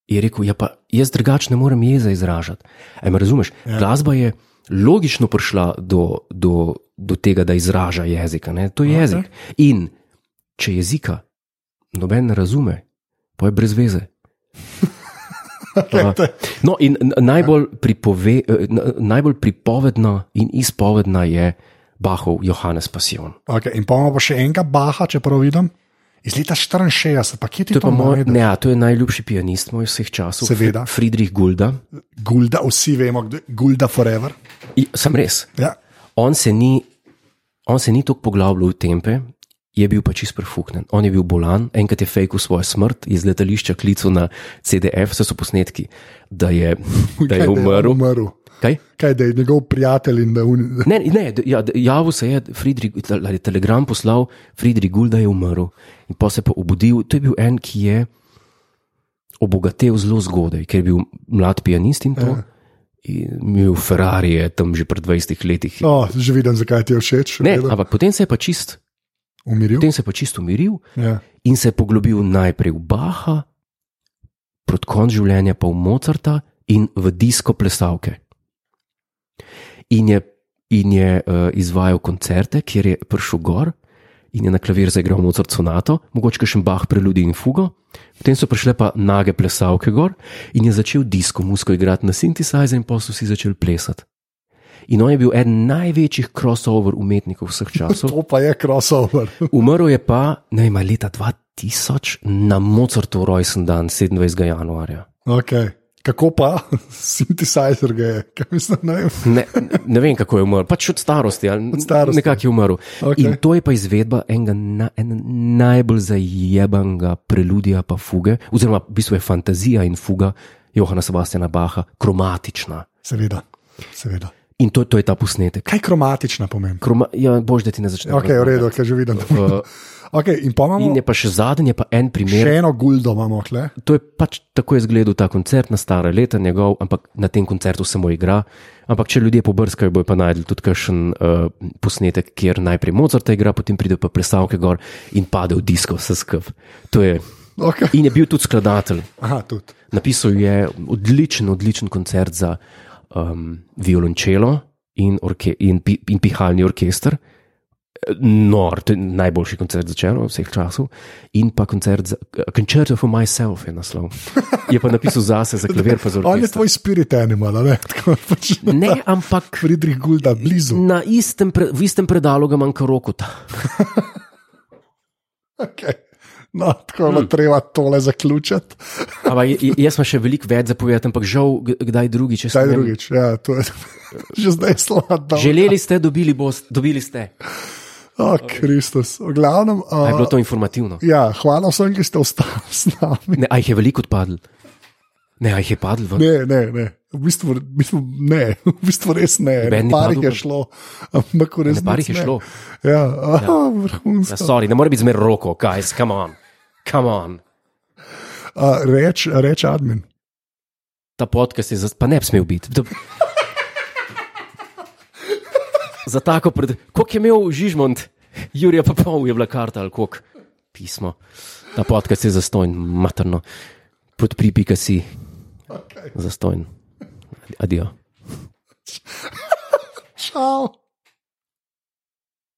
Speaker 1: Je rekel, ja, pa jaz drugače ne morem jeze izražati. E, me razumeš? Ja. Glasba je logično prišla do, do, do tega, da izraža jezik. a ne? To je
Speaker 2: Ok.
Speaker 1: okay. jezik. In če jezika noben ne razume, pa je brez veze. Aha. No, in n- najbolj, pripove, eh, n- najbolj pripovedna in izpovedna je Bahov Johannes Passion.
Speaker 2: Okay, in pa imamo pa še enega Baha, če prav vidim, iz leta 64, pa kje ti
Speaker 1: To je, pa moj,
Speaker 2: najdeš?
Speaker 1: ne, a to je najljubši pianist moj vseh časov,
Speaker 2: Seveda.
Speaker 1: Fr- Friedrich Gulda.
Speaker 2: Gulda, vsi vemo, kdo je Gulda Forever.
Speaker 1: I, sem res.
Speaker 2: Ja.
Speaker 1: On se ni, on se ni tako poglabljal v tempe, je bil pač izprfuknen. On je bil bolan, enkrat je fejkal svojo smrt, iz letališča klical na CDF, vse so posnetki, da je, da
Speaker 2: Kaj
Speaker 1: je umrl.
Speaker 2: umrl.
Speaker 1: Kaj?
Speaker 2: Kaj da je njegov prijatelj in da je
Speaker 1: Ne, ne, d- ja, d- javil se je, Friedrich, ali je telegram poslal, Friedrich Gulda je umrl in pa se je pa obudil. To je bil en, ki je obogatel zelo zgodaj, ker je bil mlad pianist in to. In imel Ferrari je tam že pred 20 leti.
Speaker 2: oh, že videl, zakaj ti je všeč.
Speaker 1: Ne,
Speaker 2: vedem.
Speaker 1: ampak potem se je pa čist,
Speaker 2: umiril.
Speaker 1: potem se je pa čist umiril
Speaker 2: Ja.
Speaker 1: in se je poglobil najprej v Baha, proti koncu življenja pa v Mozarta in v disko plesavke. In je, in je uh, izvajal koncerte, kjer je prišel gor in je na klavir zaigral Mozart sonato, mogoče še en Bach preludi in fugo. Potem so prišle pa nage plesavke gor in je začel disko musko igrati na sintetizer in pa so vsi začeli plesati. In on je bil eden največjih crossover umetnikov vseh časov.
Speaker 2: To pa je crossover.
Speaker 1: Umrl je pa, ne vem, ali leta 2000 na Mozartov rojsten dan, 27. januarja.
Speaker 2: Okay. Kako pa sintetizer ga je, kaj mislim, ne vem.
Speaker 1: Ne, ne vem, kako je umrl, pač od starosti. ali
Speaker 2: Od starosti.
Speaker 1: Nekako je umrl.
Speaker 2: Okej.
Speaker 1: Okay. In to je pa izvedba enega na, en najbolj zajebanega preludija, pa fuge, oziroma v bistvu je fantazija in fuga Johana Sebastiana Baha, kromatična.
Speaker 2: Seveda, seveda.
Speaker 1: In to, to je ta posnetek.
Speaker 2: Kaj kromatična pomeni?
Speaker 1: Kroma, ja, bož, da ti ne začneš.
Speaker 2: Ok, v redu, kaj že vidim.
Speaker 1: Uh,
Speaker 2: Okay, in pa imamo
Speaker 1: in je pa še zadnji, je pa en primer.
Speaker 2: še eno guldo, imamo kle.
Speaker 1: to je pač tako izgledal ta koncert na stare leta njegov, ampak na tem koncertu samo igra. Ampak če ljudje pobrskajo, bojo pa najdli tudi kakšen uh, posnetek, kjer najprej Mozarta igra, potem pride pa plesavke gor in pade v disko vse skup. To je.
Speaker 2: Okay.
Speaker 1: In je bil tudi skladatelj.
Speaker 2: Aha, tudi.
Speaker 1: Napisal je odličen, odličen koncert za um, violončelo in, orke, in, pi, in pihalni orkester. Nor, to je najboljši koncert začel vseh časov, in pa koncert za Concerto for Myself je naslov. Je pa napisal zase za klavir, pa za
Speaker 2: On je
Speaker 1: orkester.
Speaker 2: tvoj spirit animal, a ne? Tako pač.
Speaker 1: Ne, ampak
Speaker 2: Friedrich Gulda, blizu.
Speaker 1: na istem, pre, v istem predalu ga manjka rokota.
Speaker 2: Okay. No, tako
Speaker 1: Mm.
Speaker 2: hmm. treba tole zaključiti.
Speaker 1: Ampak j- jaz sem še veliko več zapovedal, ampak žal g- kdaj drugi, če
Speaker 2: Zdaj
Speaker 1: ne-
Speaker 2: drugič, ja, to je že zdaj slabo.
Speaker 1: Želeli ste, dobili, bost, dobili ste.
Speaker 2: O, Kristus. V glavnem,
Speaker 1: A je
Speaker 2: uh,
Speaker 1: bilo to informativno?
Speaker 2: ja, hvala vsem, ki ste ostali z nami.
Speaker 1: Ne, a jih je veliko odpadlo. Ne, a jih je padlo ven.
Speaker 2: Ne, ne, ne. V bistvu, v bistvu ne, v bistvu res ne.
Speaker 1: Noben ni
Speaker 2: ne parih
Speaker 1: padel,
Speaker 2: je šlo, ampak res
Speaker 1: Ne, parih je šlo.
Speaker 2: Ja, ja.
Speaker 1: Ja,
Speaker 2: vrhunsko.
Speaker 1: sorry, ne more biti zmer roko, guys, come on. Come on.
Speaker 2: Uh, reč, reč admin.
Speaker 1: Ta podcast je, za- pa ne bi smel biti. Da- Za tako pred. Koliko je imel Žižmond, Jurija pa pol je bila karta ali koliko pismo. Ta podcast je zastojn, materno. Podpripi, kaj si
Speaker 2: Okay.
Speaker 1: zastojn. Adijo.
Speaker 2: Čau.